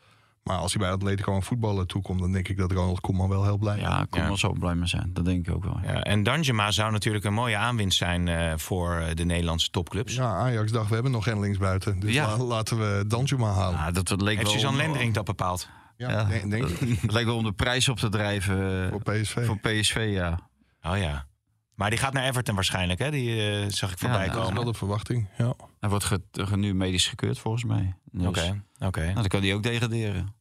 Speaker 4: Maar als hij bij Atletico een voetballer toekomt, dan denk ik dat Ronald Koeman wel heel blij is.
Speaker 6: Ja, ik kon
Speaker 3: Ja.
Speaker 6: wel zo blij mee zijn. Dat denk ik ook wel.
Speaker 3: Ja, en Danjema zou natuurlijk een mooie aanwinst zijn eh, voor de Nederlandse topclubs.
Speaker 4: Ja, Ajax dacht, we hebben nog geen linksbuiten. Dus
Speaker 6: Ja.
Speaker 4: la- laten we Danjuma halen.
Speaker 6: Ja, dat, dat leek
Speaker 3: Heeft
Speaker 6: wel
Speaker 3: Suzanne
Speaker 6: om-
Speaker 3: Lendering dat bepaald?
Speaker 4: Ja,
Speaker 6: Ja.
Speaker 4: Denk, denk ik.
Speaker 6: Het leek wel om de prijs op te drijven eh,
Speaker 4: Voor PSV.
Speaker 6: voor PSV, ja.
Speaker 3: Oh ja. Maar die gaat naar Everton waarschijnlijk, hè? Die eh, zag ik voorbij
Speaker 6: Ja,
Speaker 4: Dat is
Speaker 3: komen.
Speaker 4: wel
Speaker 3: Oké,
Speaker 4: de verwachting. Ja.
Speaker 6: Hij wordt ge- ge- nu medisch gekeurd volgens mij. Dus-
Speaker 3: oké.
Speaker 6: Nou, dan kan hij ook degraderen.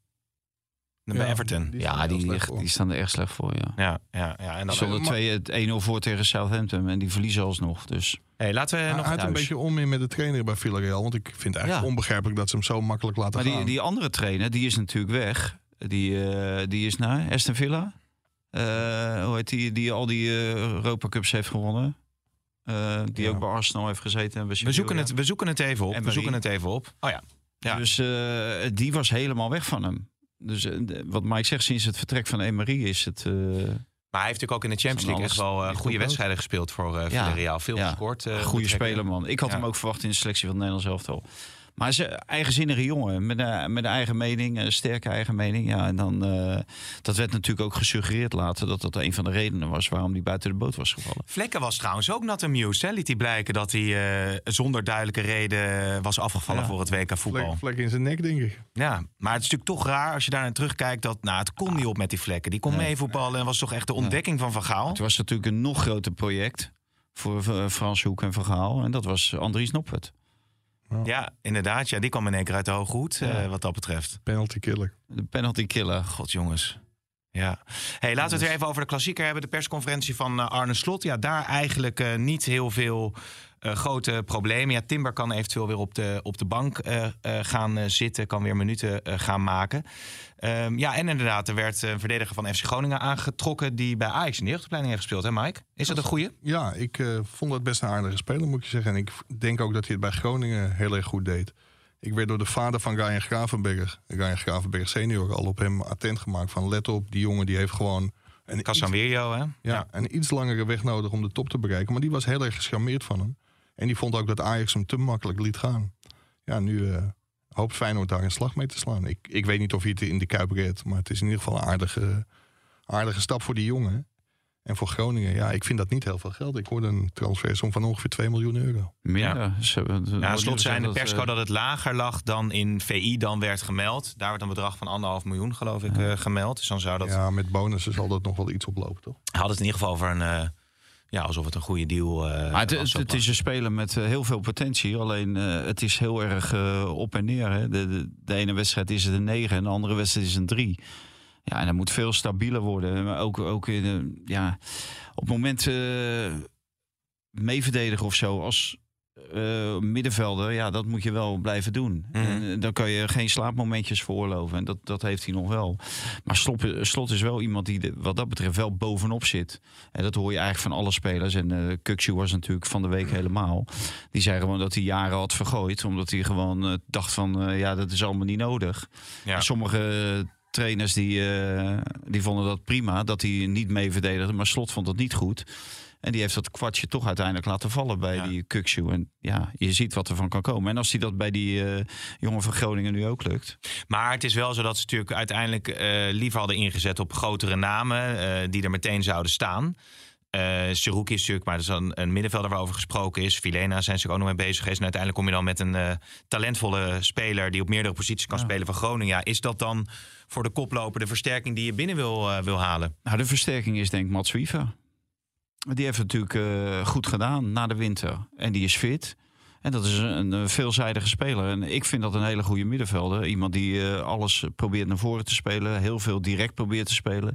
Speaker 3: Dan Bij
Speaker 4: Ja,
Speaker 3: Everton.
Speaker 4: die staan
Speaker 6: Ja,
Speaker 4: er heel
Speaker 6: die,
Speaker 4: slecht
Speaker 6: ligt-
Speaker 4: voor.
Speaker 6: die staan er echt slecht voor, ja.
Speaker 3: Ja, nou, ja, ja. En dan,
Speaker 6: Zonder 2 1-0 voor tegen Southampton en die verliezen alsnog. Dus
Speaker 3: hey, laten we
Speaker 4: Hij
Speaker 3: nog...
Speaker 4: had een
Speaker 6: thuis.
Speaker 4: beetje onmin met de trainer bij Villarreal. Want ik vind het eigenlijk
Speaker 6: Ja.
Speaker 4: onbegrijpelijk dat ze hem zo makkelijk laten
Speaker 6: Maar
Speaker 4: gaan.
Speaker 6: die, die andere trainer, die is natuurlijk weg. Die, eh, die is naar Aston Villa. Eh, hoe heet die? Die al die eh, Europa Cups heeft gewonnen. Eh, die
Speaker 4: Ja.
Speaker 6: ook bij Arsenal heeft gezeten. En
Speaker 3: We
Speaker 6: bij
Speaker 3: zoeken,
Speaker 6: Sevilla.
Speaker 3: het, we zoeken het even op.
Speaker 6: En
Speaker 3: We
Speaker 6: Marie.
Speaker 3: zoeken het even op. Oh ja. ja.
Speaker 6: Dus eh, die was helemaal weg van hem. Dus eh, de- wat Mike zegt, sinds het vertrek van Emery is het... eh,
Speaker 3: Maar hij heeft natuurlijk ook in de Champions League echt
Speaker 6: Van alles
Speaker 3: wel eh,
Speaker 6: ligt
Speaker 3: goede
Speaker 6: op rood.
Speaker 3: wedstrijden gespeeld voor eh
Speaker 6: Ja,
Speaker 3: Villarreal. Veel
Speaker 6: ja.
Speaker 3: gescoord. eh,
Speaker 6: goede
Speaker 3: goed trekken.
Speaker 6: speler, man. Ik had
Speaker 3: Ja.
Speaker 6: hem ook verwacht in de selectie van het Nederlands elftal. Maar ze eigenzinnige jongen, met een, met een eigen mening, een sterke eigen mening. Ja, en dan, eh, dat werd natuurlijk ook gesuggereerd later dat dat een van de redenen was waarom hij buiten de boot was gevallen.
Speaker 3: Vlekken was trouwens ook nat amused. Hè? Liet hij blijken dat hij eh, zonder duidelijke reden was afgevallen
Speaker 6: Ja.
Speaker 3: voor het WK voetbal.
Speaker 4: Vlek, vlek in zijn nek, denk ik.
Speaker 3: Ja, maar het is natuurlijk toch raar als je daar naar terugkijkt dat nou, het kon niet op met die vlekken. Die kon mee voetballen en was toch echt de ontdekking van Van Gaal.
Speaker 6: Het was natuurlijk een nog groter project voor eh, Frans Hoek en Vergaal. En dat was Andries Noppert.
Speaker 3: Ja, inderdaad. Ja, die kwam in één keer uit de hoge hoed eh, wat dat betreft.
Speaker 4: Penalty killer.
Speaker 6: De penalty killer.
Speaker 3: God, jongens. Ja. Hey, laten we het weer even over de klassieker hebben. De persconferentie van eh, Arne Slot. Ja, daar eigenlijk eh, niet heel veel eh, grote problemen. Ja, Timber kan eventueel weer op de, op de bank eh, eh, gaan eh, zitten. Kan weer minuten eh, gaan maken. Ehm, ja, en inderdaad, er werd eh, een verdediger van FC Groningen aangetrokken... die bij Ajax in de jeugdopleiding heeft gespeeld, hè Mike? Is dat een goeie?
Speaker 4: Ja, ik eh, vond dat best een aardige speler, moet ik je zeggen. En ik v- denk ook dat hij het bij Groningen heel erg goed deed. Ik werd door de vader van Ryan Gravenberg, Ryan Gravenberg senior, al op hem attent gemaakt van let op, die jongen die heeft gewoon een iets,
Speaker 3: Casanwerio, hè?
Speaker 4: ja, een iets langere weg nodig om de top te bereiken. Maar die was heel erg gescharmeerd van hem. En die vond ook dat Ajax hem te makkelijk liet gaan. Ja, nu eh, hoopt Feyenoord daar een slag mee te slaan. Ik, ik weet niet of hij het in de Kuip redt, maar het is in ieder geval een aardige, aardige stap voor die jongen. En voor Groningen, ja, ik vind dat niet heel veel geld. Ik hoorde een transfersom van ongeveer 2 miljoen euro.
Speaker 6: Meer. eh,
Speaker 3: Ja.
Speaker 6: Ze hebben-
Speaker 3: Ja, aan
Speaker 6: wordt
Speaker 3: slot zei in de
Speaker 6: gezegd
Speaker 3: persco
Speaker 6: dat, eh,
Speaker 3: dat het lager lag dan in VI dan werd gemeld. Daar werd een bedrag van anderhalf miljoen, geloof ik, eh, gemeld. Dus dan zou dat...
Speaker 4: Ja, met bonussen zal dat nog wel iets oplopen, toch?
Speaker 3: Hij had het in ieder geval over een... eh, ja, alsof het een goede deal eh,
Speaker 6: eh, maar het,
Speaker 3: was
Speaker 6: het,
Speaker 3: op-
Speaker 6: het is een speler met eh, heel veel potentie. Alleen eh, het is heel erg eh, op en neer. Hè. De, de, de ene wedstrijd is het een 9 en de andere wedstrijd is het een 3. Ja, en dat moet veel stabieler worden. Maar ook, ook in, eh, ja, op het moment eh meeverdedigen of zo. Als eh, middenvelder, ja, dat moet je wel blijven doen.
Speaker 3: Mhm.
Speaker 6: En, eh, dan kan je geen slaapmomentjes veroorloven. En dat, dat heeft hij nog wel. Maar Slop- Slot, is wel iemand die de- wat dat betreft wel bovenop zit. En dat hoor je eigenlijk van alle spelers. En eh Kukzu was natuurlijk van de week helemaal. Die zei gewoon dat hij jaren had vergooid. Omdat hij gewoon eh, dacht van, eh, ja, dat is allemaal niet nodig.
Speaker 3: Ja.
Speaker 6: En Sommige trainers die, eh, die vonden dat prima, dat hij niet mee verdedigde. Maar Slot vond dat niet goed. En die heeft dat kwartje toch uiteindelijk laten vallen bij
Speaker 3: Ja.
Speaker 6: die Kukshoe. En ja, je ziet wat er van kan komen. En als hij dat bij die eh, jongen van Groningen nu ook lukt.
Speaker 3: Maar het is wel zo dat ze natuurlijk uiteindelijk eh, liever hadden ingezet op grotere namen eh, die er meteen zouden staan. Eh Seruki is natuurlijk, maar dat is dan een middenvelder waarover gesproken is. Vilena zijn ze ook nog mee bezig geweest. En uiteindelijk kom je dan met een eh, talentvolle speler die op meerdere posities kan spelen van Groningen. Ja, is dat dan voor de koploper de versterking die je binnen wil, eh, wil halen?
Speaker 6: Nou, de versterking is denk ik Mats Wiever. Die heeft het natuurlijk eh, goed gedaan na de winter. En die is fit. En dat is een, eh, veelzijdige speler. En ik vind dat een hele goede middenvelder. Iemand die eh, alles probeert naar voren te spelen. Heel veel direct probeert te spelen.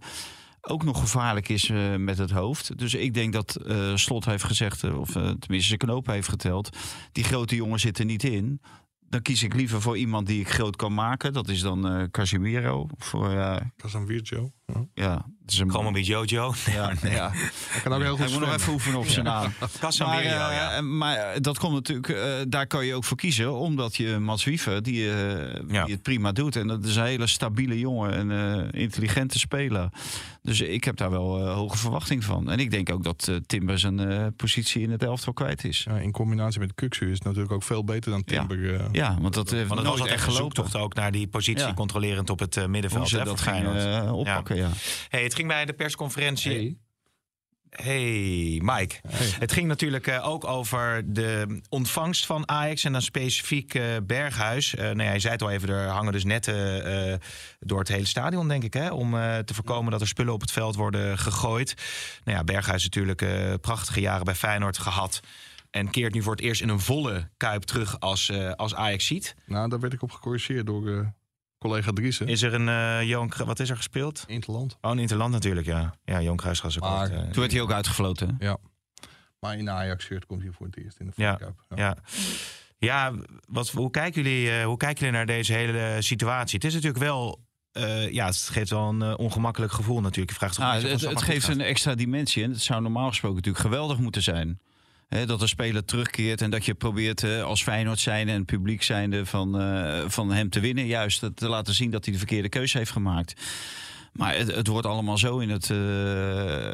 Speaker 6: Ook nog gevaarlijk is eh, met het hoofd. Dus ik denk dat eh, Slot heeft gezegd, eh, of eh, tenminste zijn knopen heeft geteld. Die grote jongen zit er niet in. Dan kies ik liever voor iemand die ik groot kan maken. Dat is dan eh Casimiro. Voor, eh,
Speaker 4: Dat is een Virgil. Ja.
Speaker 6: ja, dat is een
Speaker 3: Gewoon een Jojo.
Speaker 6: ja, ja.
Speaker 4: Hij kan ook heel
Speaker 6: Hij
Speaker 4: goed
Speaker 6: moet nog
Speaker 4: zwemmen.
Speaker 6: even oefenen op zijn naam. Maar,
Speaker 3: Casemiro,
Speaker 6: eh,
Speaker 3: ja.
Speaker 6: eh, maar eh, dat komt natuurlijk, eh, daar kan je ook voor kiezen. Omdat je Mats Wiever, die, eh,
Speaker 3: Ja.
Speaker 6: die het prima doet. En dat is een hele stabiele jongen, een eh, intelligente speler. Dus ik heb daar wel eh, hoge verwachting van. En ik denk ook dat eh, Timber zijn eh, positie in het elftal kwijt is.
Speaker 4: Ja, in combinatie met Kuksu is het natuurlijk ook veel beter dan Timber. eh,
Speaker 6: Ja, want dat heeft
Speaker 3: Want dat was
Speaker 6: nooit echt
Speaker 3: echt
Speaker 6: gelopen.
Speaker 3: gelopen. ook naar die positie
Speaker 6: Ja.
Speaker 3: controlerend op het eh,
Speaker 6: Hoe
Speaker 3: middenveld.
Speaker 6: ze
Speaker 3: hè,
Speaker 6: dat
Speaker 3: voor
Speaker 6: gaan
Speaker 3: Feyenoord.
Speaker 6: eh, oppakken, ja.
Speaker 3: Hey, het ging bij de persconferentie.
Speaker 4: Hey.
Speaker 3: Hey Mike, het ging natuurlijk eh, ook over de ontvangst van Ajax en dan specifiek eh, Berghuis. Eh nou ja, je zei het al even, er hangen dus netten eh, door het hele stadion, denk ik. Hè, om eh, te voorkomen dat er spullen op het veld worden gegooid. Nou ja, Berghuis natuurlijk eh, prachtige jaren bij Feyenoord gehad. En keert nu voor het eerst in een volle kuip terug als, eh, als Ajax ziet.
Speaker 4: Nou, daar werd ik op gecorrigeerd door eh, collega Driessen.
Speaker 3: Is er een eh Johan, Cru- wat is er gespeeld?
Speaker 4: In het land.
Speaker 3: Oh, in Interland natuurlijk, ja. Ja, Johan Kruisgaas ook.
Speaker 4: Maar-
Speaker 3: ooit, eh,
Speaker 6: Toen werd hij ook uitgefloten. hè?
Speaker 4: Maar in de Ajax-shirt komt hij voor het eerst in de
Speaker 3: Ja,
Speaker 4: Fed Cup.
Speaker 3: Ja, ja wat, hoe, kijken jullie, eh, hoe kijken jullie naar deze hele eh, situatie? Het is natuurlijk wel. eh, ja, het geeft wel een eh, ongemakkelijk gevoel natuurlijk. Je vraagt zich af
Speaker 6: Ah,
Speaker 3: of
Speaker 6: het,
Speaker 3: zo
Speaker 6: het
Speaker 3: makkelijk
Speaker 6: geeft
Speaker 3: gaat.
Speaker 6: een extra dimensie. En het zou normaal gesproken natuurlijk geweldig moeten zijn. Hè, dat de speler terugkeert en dat je probeert eh, als Feyenoord zijn en publiek zijnde van, eh, van hem te winnen. Juist dat- te laten zien dat hij de verkeerde keuze heeft gemaakt. Maar het, het wordt allemaal zo in het, eh,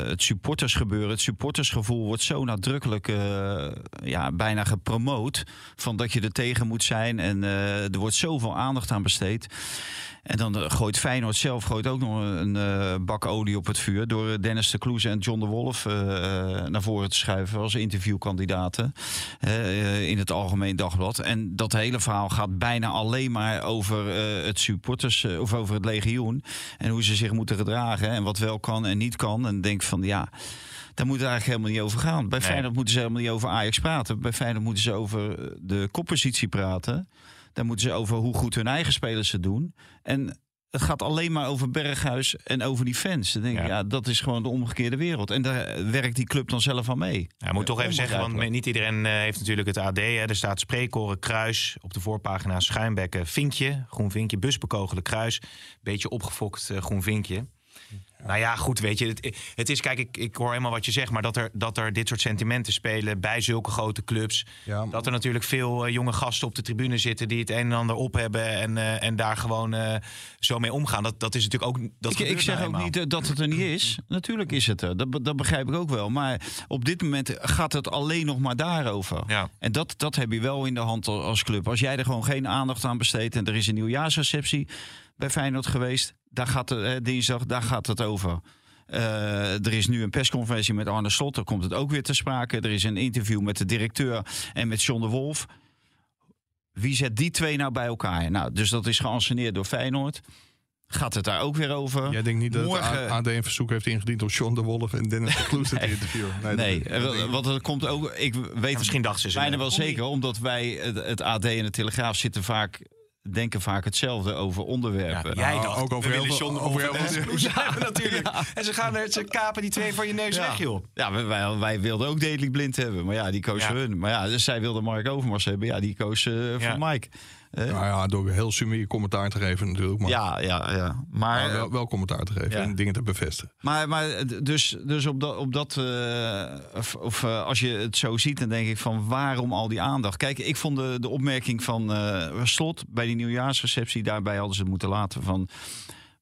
Speaker 6: eh, het supportersgebeuren. Het supportersgevoel wordt zo nadrukkelijk eh, ja, bijna gepromoot. Van dat je er tegen moet zijn. En eh, er wordt zoveel aandacht aan besteed. En dan eh, gooit Feyenoord zelf gooit ook nog een eh, bak olie op het vuur. Door eh, Dennis de Kloeze en John de Wolf eh, eh, naar voren te schuiven als interviewkandidaten. eh, in het Algemeen Dagblad. En dat hele verhaal gaat bijna alleen maar over eh, het supporters eh, of over het legioen. En hoe ze zich moeten gedragen. En wat wel kan en niet kan. En denk van ja. Daar moet het eigenlijk helemaal niet over gaan. Bij
Speaker 3: Nee.
Speaker 6: Feyenoord moeten ze helemaal niet over Ajax praten. Bij Feyenoord moeten ze over de koppositie praten. Daar moeten ze over hoe goed hun eigen spelers het doen. En het gaat alleen maar over Berghuis en over die fans. Dan denk ik,
Speaker 3: Ja.
Speaker 6: ja. dat is gewoon de omgekeerde wereld. En daar werkt die club dan zelf aan mee.
Speaker 3: Ja, ik moet toch even zeggen, want
Speaker 6: Eh,
Speaker 3: niet
Speaker 6: Onbegrijpelijk.
Speaker 3: iedereen eh, heeft natuurlijk het AD. Hè. Er staat spreekkoren kruis op de voorpagina schuimbekken vinkje. Groen vinkje, busbekogelen kruis. Beetje opgefokt eh, groen vinkje. Nou ja, goed, weet je. Het, het is, kijk, ik, ik hoor helemaal wat je zegt. Maar dat er, dat er dit soort sentimenten spelen bij zulke grote clubs.
Speaker 4: Ja,
Speaker 3: Dat er natuurlijk veel eh, jonge gasten op de tribune zitten die het een en ander op hebben. En, eh, en daar gewoon eh, zo mee omgaan. Dat, dat is natuurlijk ook. Dat
Speaker 6: Ik,
Speaker 3: gebeurt
Speaker 6: ik zeg
Speaker 3: nou
Speaker 6: ook
Speaker 3: eenmaal.
Speaker 6: niet eh, dat het er niet is. Natuurlijk is het er. Dat, be- dat begrijp ik ook wel. Maar op dit moment gaat het alleen nog maar daarover.
Speaker 3: Ja.
Speaker 6: En dat, dat heb je wel in de hand al- als club. Als jij er gewoon geen aandacht aan besteedt en er is een nieuwjaarsreceptie bij Feyenoord geweest, daar gaat het, eh, dinsdag, daar gaat het over. Eh, er is nu een persconferentie met Arne Slot, daar komt het ook weer te sprake. Er is een interview met de directeur en met John de Wolf. Wie zet die twee nou bij elkaar? Nou, dus dat is geanceneerd door Feyenoord. Gaat het daar ook weer over?
Speaker 4: Jij denkt niet dat het
Speaker 6: Morgen-
Speaker 4: A- AD een verzoek heeft ingediend om Sean de Wolf en Dennis de Kloes te interviewen. dat-
Speaker 6: Nee,
Speaker 4: dat denk ik
Speaker 6: eh, want dat komt ook. Ik weet
Speaker 3: Ja, misschien dachten ze.
Speaker 6: bijna
Speaker 3: eh,
Speaker 6: wel
Speaker 3: kom
Speaker 6: zeker, omdat wij het, het AD en de Telegraaf zitten vaak denken vaak hetzelfde over onderwerpen.
Speaker 3: Ja, jij
Speaker 4: Nou,
Speaker 3: dacht,
Speaker 4: ook over
Speaker 3: we
Speaker 4: heel
Speaker 3: willen
Speaker 4: veel-
Speaker 3: John de
Speaker 4: over
Speaker 3: Wolf
Speaker 4: heel
Speaker 3: en
Speaker 4: veel
Speaker 3: Dennis Kloes hebben natuurlijk. En ze, gaan er, ze kapen die twee van je neus weg, joh.
Speaker 6: Ja, wij- wij, wij wilden ook Deli Blind hebben, maar ja, die koos
Speaker 3: Ja.
Speaker 6: hun. Maar ja, dus zij wilden Mark Overmars hebben, ja, die koos eh,
Speaker 3: Ja.
Speaker 6: voor Mike.
Speaker 4: Nou ja, door heel sumier commentaar te geven natuurlijk. Maar
Speaker 6: Eh. Ja, ja, ja. Maar, eh,
Speaker 4: maar wel, wel commentaar te geven
Speaker 6: Ja.
Speaker 4: en dingen te bevestigen.
Speaker 6: Maar, maar d- dus, dus op dat, op dat eh, of, of eh, als je het zo ziet, dan denk ik van waarom al die aandacht? Kijk, ik vond de, de opmerking van eh, Slot bij die nieuwjaarsreceptie, daarbij hadden ze het moeten laten van...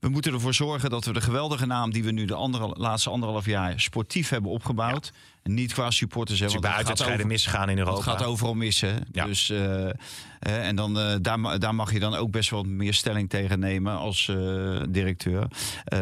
Speaker 6: We moeten ervoor zorgen dat we de geweldige naam die we nu de andere, laatste anderhalf jaar sportief hebben opgebouwd. En niet qua supporters. hè,
Speaker 3: Het is
Speaker 6: want
Speaker 3: bij
Speaker 6: het gaat
Speaker 3: uitwedstrijden
Speaker 6: over-
Speaker 3: misgaan in
Speaker 6: het
Speaker 3: Europa.
Speaker 6: gaat overal missen.
Speaker 3: Ja.
Speaker 6: Dus, eh, eh, en dan, eh, daar, ma- daar mag je dan ook best wel wat meer stelling tegen nemen als eh, directeur. Eh,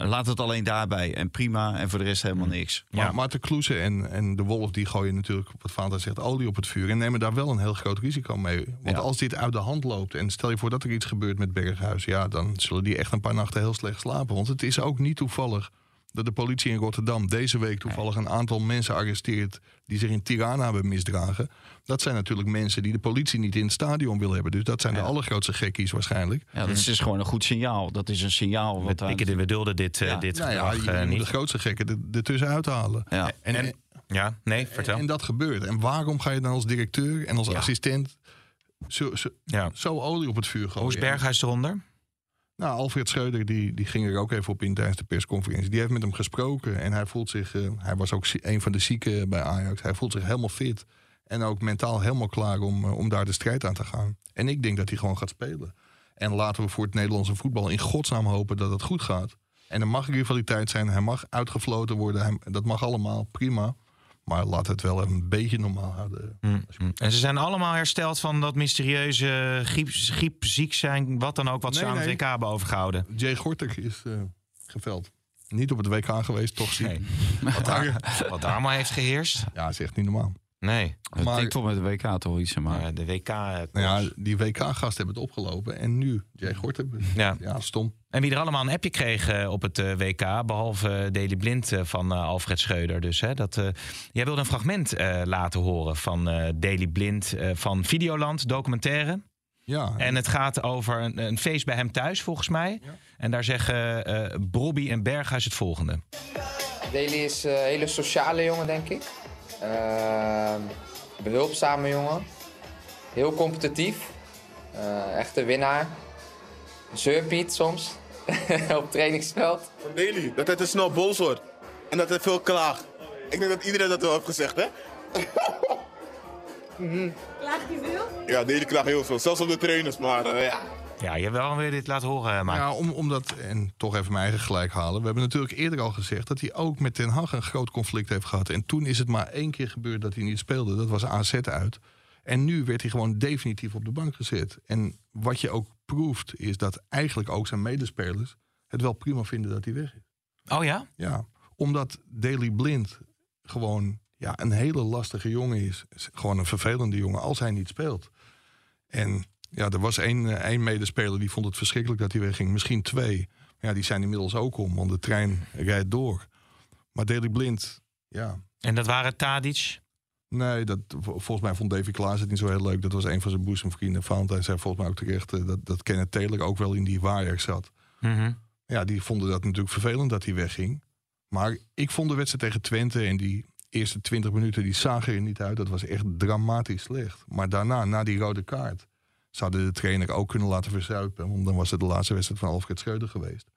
Speaker 6: laat het alleen daarbij. En prima. En voor de rest helemaal niks.
Speaker 3: Mm. Ja.
Speaker 4: Maar, maar de Kloes en, en de Wolf die gooien natuurlijk, wat Fanta zegt, olie op het vuur. En nemen daar wel een heel groot risico mee. Want
Speaker 6: Ja.
Speaker 4: als dit uit de hand loopt en stel je voor dat er iets gebeurt met Berghuis. Ja, dan zullen die echt een paar nachten heel slecht slapen. Want het is ook niet toevallig dat de politie in Rotterdam deze week toevallig een aantal mensen arresteert die zich in Tirana hebben misdragen. Dat zijn natuurlijk mensen die de politie niet in het stadion wil hebben. Dus dat zijn de allergrootste gekkies waarschijnlijk.
Speaker 6: Ja, dat is dus gewoon een goed signaal. Dat is een signaal. Wat daar-
Speaker 3: Pikken, we dulden dit, eh,
Speaker 6: Ja.
Speaker 3: dit
Speaker 4: Nou ja,
Speaker 3: gedrag
Speaker 4: je,
Speaker 3: eh,
Speaker 4: je moet de
Speaker 3: niet.
Speaker 4: grootste gekken er- ertussen uithalen.
Speaker 6: ja.
Speaker 4: En, en,
Speaker 3: Ja, nee, vertel.
Speaker 4: en dat gebeurt. En waarom ga je dan als directeur en als assistent zo, zo,
Speaker 3: ja.
Speaker 4: zo olie op het vuur gooien?
Speaker 3: Hoe is Berghuis eronder?
Speaker 4: Nou, Alfred Schreuder die, die ging er ook even op in tijdens de persconferentie. Die heeft met hem gesproken en hij voelt zich... eh, hij was ook zie- een van de zieken bij Ajax. Hij voelt zich helemaal fit en ook mentaal helemaal klaar om, eh, om daar de strijd aan te gaan. En ik denk dat hij gewoon gaat spelen. En laten we voor het Nederlandse voetbal in godsnaam hopen dat het goed gaat. En er mag rivaliteit zijn, hij mag uitgefloten worden. Hij, dat mag allemaal, prima. Maar laat het wel een beetje normaal houden.
Speaker 3: En ze zijn allemaal hersteld van dat mysterieuze griep, griep ziek zijn, wat dan ook, wat ze
Speaker 4: Nee,
Speaker 3: aan
Speaker 4: nee.
Speaker 3: het WK hebben overgehouden.
Speaker 4: Jay Gorter is eh, geveld. Niet op het WK geweest, toch ziek.
Speaker 3: Nee. Wat daar, wat daar maar heeft geheerst?
Speaker 4: Ja, dat is echt niet normaal.
Speaker 3: Nee.
Speaker 6: Het
Speaker 4: maar-
Speaker 6: tikt toch met de WK toch iets, maar...
Speaker 3: Maar de WK. eh,
Speaker 4: Nou ja, die WK-gast hebben het opgelopen. En nu, Jay Gorter.
Speaker 3: Ja.
Speaker 4: Ja, stom.
Speaker 3: En wie er allemaal een appje kreeg eh, op het eh, WK, behalve eh, Deli Blind eh, van eh, Alfred Scheuder. Dus, hè, dat, eh, jij wilde een fragment eh, laten horen van eh Deli Blind eh, van Videoland, documentaire.
Speaker 4: Ja,
Speaker 3: En het gaat over een, een feest bij hem thuis, volgens mij. En daar zeggen eh Bobby en Berghuis het volgende.
Speaker 5: Daley is eh, een hele sociale jongen, denk ik. Ehm, behulpzame jongen. Heel competitief. Eh, echte winnaar. Zeurpiet soms. Op het trainingsveld.
Speaker 7: Van Daly, dat hij te snel boos wordt. En dat hij veel klaagt. Ik denk dat iedereen dat wel heeft gezegd, hè?
Speaker 8: Klaagt hij veel?
Speaker 7: Ja, Daly klaagt heel veel. Zelfs op de trainers, maar eh, ja.
Speaker 3: Ja, je hebt wel weer dit laten horen, eh, maar
Speaker 4: Nou Ja, om, omdat, en toch even mijn eigen gelijk halen. We hebben natuurlijk eerder al gezegd dat hij ook met Ten Hag een groot conflict heeft gehad. En toen is het maar één keer gebeurd dat hij niet speelde. Dat was AZ uit. En nu werd hij gewoon definitief op de bank gezet. En wat je ook proeft, is dat eigenlijk ook zijn medespelers het wel prima vinden dat hij weg is.
Speaker 3: Oh ja?
Speaker 4: Ja, omdat Daley Blind gewoon ja, een hele lastige jongen is. Is Gewoon een vervelende jongen als hij niet speelt. En ja, er was één, eh, één medespeler die vond het verschrikkelijk dat hij wegging. Misschien twee. Ja, die zijn inmiddels ook om, want de trein rijdt door. Maar Daley Blind, ja.
Speaker 3: En dat waren Tadic.
Speaker 4: Nee, dat, vol- volgens mij vond Davy Klaas het niet zo heel leuk. Dat was een van zijn boezemvrienden. Valentijn zei volgens mij ook terecht eh, dat, dat Kenneth Taylor ook wel in die waarheid zat.
Speaker 3: Mhm.
Speaker 4: Ja, die vonden dat natuurlijk vervelend dat hij wegging. Maar ik vond de wedstrijd tegen Twente en die eerste 20 minuten, die zagen er niet uit. Dat was echt dramatisch slecht. Maar daarna, na die rode kaart, zouden de trainer ook kunnen laten verzuipen. Want dan was het de laatste wedstrijd van Alfred Schreuder geweest.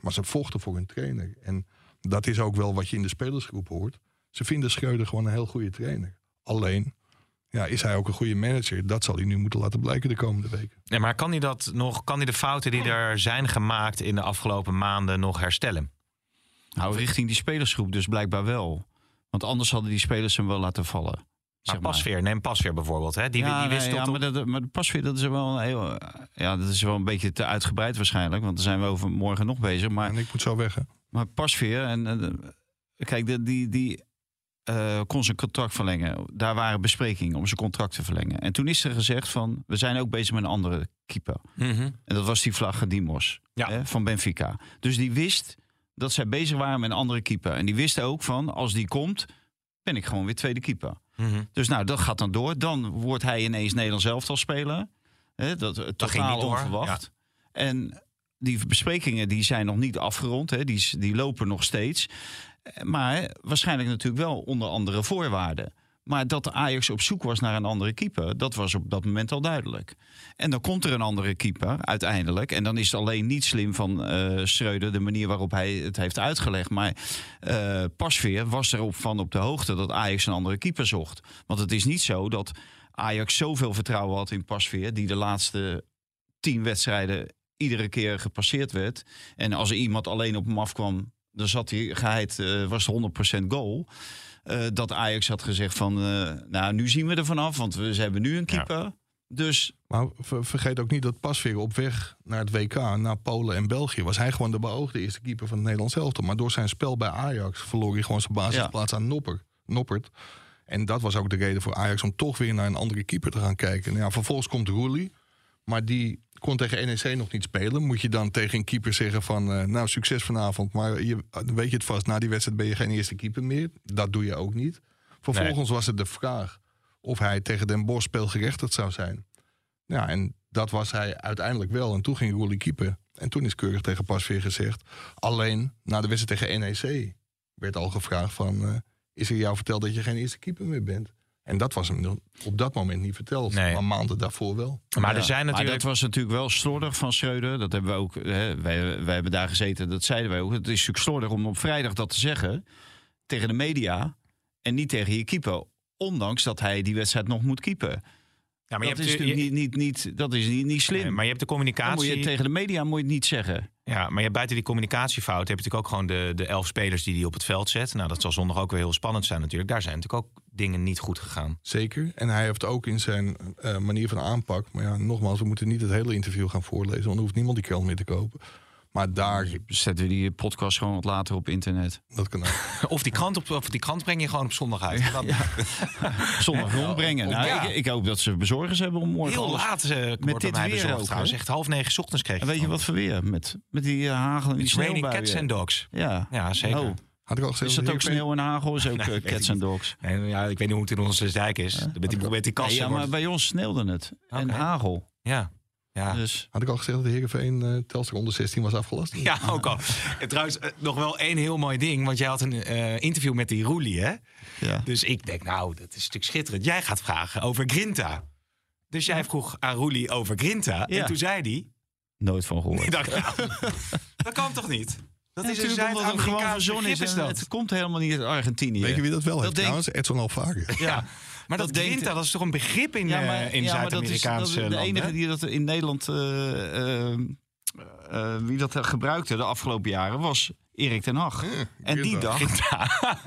Speaker 4: Maar ze vochten voor hun trainer. En dat is ook wel wat je in de spelersgroep hoort. Ze vinden Schreuder gewoon een heel goede trainer. Alleen, ja, is hij ook een goede manager? Dat zal hij nu moeten laten blijken de komende weken.
Speaker 3: Nee, maar kan hij dat nog, kan hij de fouten die er zijn gemaakt in de afgelopen maanden nog herstellen?
Speaker 6: Nou, richting die spelersgroep dus blijkbaar wel. Want anders hadden die spelers hem wel laten vallen.
Speaker 3: Maar
Speaker 6: zeg maar.
Speaker 3: Pasveer, neem Pasveer bijvoorbeeld. Hè? Die, die wist
Speaker 6: nee,
Speaker 3: tot
Speaker 6: ja, maar, dat, maar pas weer, dat is wel een heel, eh, ja, dat is wel een beetje te uitgebreid waarschijnlijk, want daar zijn we over morgen nog bezig. Maar
Speaker 4: En ik moet zo weg, hè?
Speaker 6: Maar pas weer. En, eh, kijk, de, die, die eh, kon zijn contract verlengen. Daar waren besprekingen om zijn contract te verlengen. En toen is er gezegd van, we zijn ook bezig met een andere keeper.
Speaker 3: Mhm.
Speaker 6: En dat was die Vlagge Dimos
Speaker 3: Ja.
Speaker 6: hè, van Benfica. Dus die wist dat zij bezig waren met een andere keeper. En die wist ook van, als die komt, ben ik gewoon weer tweede keeper.
Speaker 3: Mhm.
Speaker 6: Dus nou, dat gaat dan door. Dan wordt hij ineens Nederlands elftal speler. Hè, dat eh,
Speaker 3: ging niet
Speaker 6: totaal
Speaker 3: door,
Speaker 6: onverwacht. En die besprekingen die zijn nog niet afgerond. Hè. Die, s- die lopen nog steeds. Eh, Maar waarschijnlijk natuurlijk wel onder andere voorwaarden. Maar dat Ajax op zoek was naar een andere keeper, dat was op dat moment al duidelijk. En dan komt er een andere keeper uiteindelijk. En dan is het alleen niet slim van eh Schreuder de manier waarop hij het heeft uitgelegd. Maar eh Pasveer was erop van op de hoogte dat Ajax een andere keeper zocht. Want het is niet zo dat Ajax zoveel vertrouwen had in Pasveer, die de laatste tien wedstrijden iedere keer gepasseerd werd. En als er iemand alleen op hem afkwam, dan zat hij geheid, eh, was het 100% goal. Eh, dat Ajax had gezegd van, eh, nou nu zien we er vanaf, want we ze hebben nu een keeper. Dus
Speaker 4: Maar ver- vergeet ook niet dat Pasveer op weg naar het WK, naar Polen en België, was hij gewoon de beoogde eerste keeper van het Nederlands elftal. Maar door zijn spel bij Ajax verloor hij gewoon zijn basisplaats aan Nopper, Noppert. En dat was ook de reden voor Ajax om toch weer naar een andere keeper te gaan kijken. Nou ja, vervolgens komt Roelie, maar die kon tegen NEC nog niet spelen. Moet je dan tegen een keeper zeggen van, eh, nou succes vanavond, maar je, weet je het vast, na die wedstrijd ben je geen eerste keeper meer. Dat doe je ook niet. Vervolgens was het de vraag of hij tegen Den Bosch speelgerechtigd zou zijn. Ja, en dat was hij uiteindelijk wel. En toen ging Roelie keeper. En toen is keurig tegen Pasveer gezegd. Alleen na de wedstrijd tegen NEC werd al gevraagd van... eh, is er jou verteld dat je geen eerste keeper meer bent? En dat was hem nog op dat moment niet verteld.
Speaker 3: Nee.
Speaker 4: Maar maanden daarvoor wel.
Speaker 3: Maar er
Speaker 6: Ja,
Speaker 3: zijn
Speaker 6: Maar
Speaker 3: natuurlijk...
Speaker 6: dat was natuurlijk wel slordig van Schreuder. Dat hebben we ook. Hè, wij, wij hebben daar gezeten, dat zeiden wij ook. Het is natuurlijk slordig om op vrijdag dat te zeggen. Tegen de media. En niet tegen je keeper. Ondanks dat hij die wedstrijd nog moet keeper.
Speaker 3: ja, maar je
Speaker 6: Dat
Speaker 3: hebt,
Speaker 6: is
Speaker 3: je-
Speaker 6: natuurlijk niet, niet, niet, dat is niet, niet slim.
Speaker 3: Nee, maar je hebt de
Speaker 6: Dan moet
Speaker 3: communicatie...
Speaker 6: je, tegen de media moet je het niet zeggen.
Speaker 3: Ja, maar je hebt buiten die communicatiefout heb je natuurlijk ook gewoon de, de elf spelers die die op het veld zet. Nou, dat zal zondag ook weer heel spannend zijn natuurlijk. Daar zijn natuurlijk ook dingen niet goed gegaan.
Speaker 4: Zeker. En hij heeft ook in zijn eh, manier van aanpak... Maar ja, nogmaals, we moeten niet het hele interview gaan voorlezen. Want dan hoeft niemand die krant meer te kopen. Maar daar,
Speaker 6: Zetten we die podcast gewoon wat later op internet.
Speaker 4: dat kan ook.
Speaker 3: Of die krant, op, of die krant breng je gewoon op zondag uit. Dat-
Speaker 6: Zondag rondbrengen. Nou,
Speaker 3: ja.
Speaker 6: ik, ik hoop dat ze bezorgers hebben om morgen.
Speaker 3: Heel
Speaker 6: alles-
Speaker 3: laat eh wordt
Speaker 6: dit
Speaker 3: bij mij
Speaker 6: weer
Speaker 3: bezorgd
Speaker 6: ook,
Speaker 3: trouwens.
Speaker 6: hè?
Speaker 3: Echt half negen 's ochtends kreeg
Speaker 6: En weet je wat voor weer? Met, met die eh, hagel en die
Speaker 3: It's raining
Speaker 6: sneeuwbuien.
Speaker 3: cats and dogs.
Speaker 6: Ja.
Speaker 3: Ja, zeker.
Speaker 6: Oh.
Speaker 4: Had ik al gezegd
Speaker 6: Is dat
Speaker 4: dat
Speaker 6: ook
Speaker 4: Heerenveen-
Speaker 6: sneeuw en hagel? Is ook eh,
Speaker 3: weet ik
Speaker 6: cats and dogs.
Speaker 3: Nee, ja, ik weet niet hoe het in onze dijk is. Met die, met die
Speaker 6: Nee,
Speaker 3: kassen.
Speaker 6: ja, maar
Speaker 3: wordt-
Speaker 6: bij ons sneeuwde het. En
Speaker 3: Oké.
Speaker 6: hagel.
Speaker 3: ja. Ja.
Speaker 6: Dus
Speaker 4: Had ik al gezegd dat Heerenveen eh Telstra onder 16 was afgelast?
Speaker 3: Ja, ook al. En trouwens, eh, nog wel één heel mooi ding. Want jij had een eh, interview met die Roelie, hè?
Speaker 6: ja.
Speaker 3: Dus ik denk, nou, dat is natuurlijk schitterend. Jij gaat vragen over Grinta. Dus jij vroeg aan Roelie over Grinta.
Speaker 6: Ja.
Speaker 3: En toen zei hij...
Speaker 6: nooit van gehoord.
Speaker 3: Ik dacht, nou, dat kan toch niet? Dat is een
Speaker 6: gewoon
Speaker 3: Zuid-Amerikaans
Speaker 6: van zon
Speaker 3: begrip,
Speaker 6: is.
Speaker 3: is
Speaker 6: En
Speaker 3: dat.
Speaker 6: het komt helemaal niet uit Argentinië.
Speaker 4: Weet je wie dat wel heeft
Speaker 6: denk-
Speaker 4: trouwens? Edson Alvarez.
Speaker 3: Ja. Maar dat,
Speaker 6: denkt-
Speaker 3: Grinta, dat is toch een begrip in, eh,
Speaker 6: maar-
Speaker 3: in
Speaker 6: ja, maar dat is- dat is
Speaker 3: Zuid-Amerikaanse
Speaker 6: De enige
Speaker 3: landen?
Speaker 6: die dat in Nederland, eh, eh, eh, wie dat gebruikte de afgelopen jaren, was Erik ten Hag. en, die
Speaker 4: Grinta.
Speaker 6: dacht,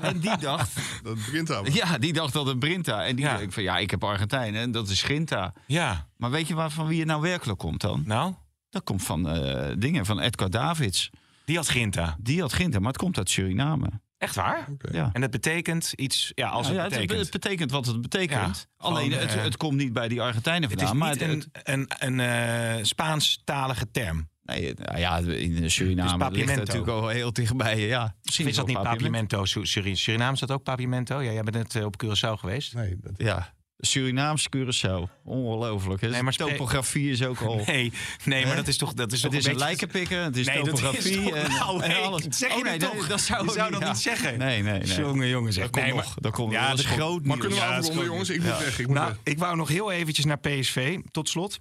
Speaker 6: en die dacht...
Speaker 4: Dat begint aan.
Speaker 6: Ja, die dacht dat het Brinta. En die
Speaker 3: Ja.
Speaker 6: dacht van, ja, ik heb Argentijnen en dat is Grinta.
Speaker 3: Ja,
Speaker 6: Maar weet je waar, van wie het nou werkelijk komt dan?
Speaker 3: nou,
Speaker 6: Dat komt van eh, dingen, van Edgar Davids.
Speaker 3: die had Grinta.
Speaker 6: Die had Grinta, maar het komt uit Suriname.
Speaker 3: Echt waar?
Speaker 6: Ja. Nou
Speaker 3: En dat betekent iets, ja, als
Speaker 6: Ja,
Speaker 3: het
Speaker 6: het-
Speaker 3: betekent.
Speaker 6: het betekent wat het betekent.
Speaker 3: Ja,
Speaker 6: Alleen,
Speaker 3: gewoon,
Speaker 6: het,
Speaker 3: eh,
Speaker 6: het komt niet bij die Argentijnen
Speaker 3: Het
Speaker 6: vandaan.
Speaker 3: is
Speaker 6: maar
Speaker 3: niet een, een, een eh, Spaanstalige term.
Speaker 6: Nee, nou ja, in
Speaker 3: Dus
Speaker 6: Suriname ligt
Speaker 3: Papiamento.
Speaker 6: het natuurlijk al heel dichtbij. Ja,
Speaker 3: Of
Speaker 6: misschien
Speaker 3: is dat niet
Speaker 6: wel
Speaker 3: Papimento? Suriname is dat ook Papimento? Ja, jij bent net eh, op Curaçao geweest.
Speaker 4: Nee, dat,
Speaker 6: Ja, Surinaams Curaçao. Ongelooflijk. hè?
Speaker 3: Nee, maar spreek-
Speaker 6: topografie is ook al...
Speaker 3: Nee, nee maar dat is toch, dat is
Speaker 6: Het
Speaker 3: toch
Speaker 6: is een
Speaker 3: beetje-
Speaker 6: lijkenpikken, het is
Speaker 3: Nee, dat is
Speaker 6: topografie
Speaker 3: toch-
Speaker 6: en,
Speaker 3: nou,
Speaker 6: en
Speaker 3: hey,
Speaker 6: alles.
Speaker 3: dat zeg je
Speaker 6: Oh,
Speaker 3: nu
Speaker 6: nee,
Speaker 3: toch?
Speaker 6: Dat zou,
Speaker 3: Je
Speaker 6: ik
Speaker 3: zou dat niet zeggen.
Speaker 6: Nee, nee, nee.
Speaker 3: Jongen, jongen, zeg.
Speaker 6: Dat komt
Speaker 3: Nee, maar-
Speaker 6: nog. Dat komt
Speaker 3: Ja,
Speaker 6: nog. Dat
Speaker 3: dat
Speaker 6: is
Speaker 3: is
Speaker 6: groot
Speaker 3: Maar
Speaker 4: Kunnen we
Speaker 3: Ja, dat is
Speaker 4: afronden,
Speaker 3: gewoon-
Speaker 4: jongens? Ik moet
Speaker 6: Ja.
Speaker 4: weg. Ik moet
Speaker 3: nou,
Speaker 4: weg.
Speaker 3: ik wou nog heel eventjes naar PSV, tot slot.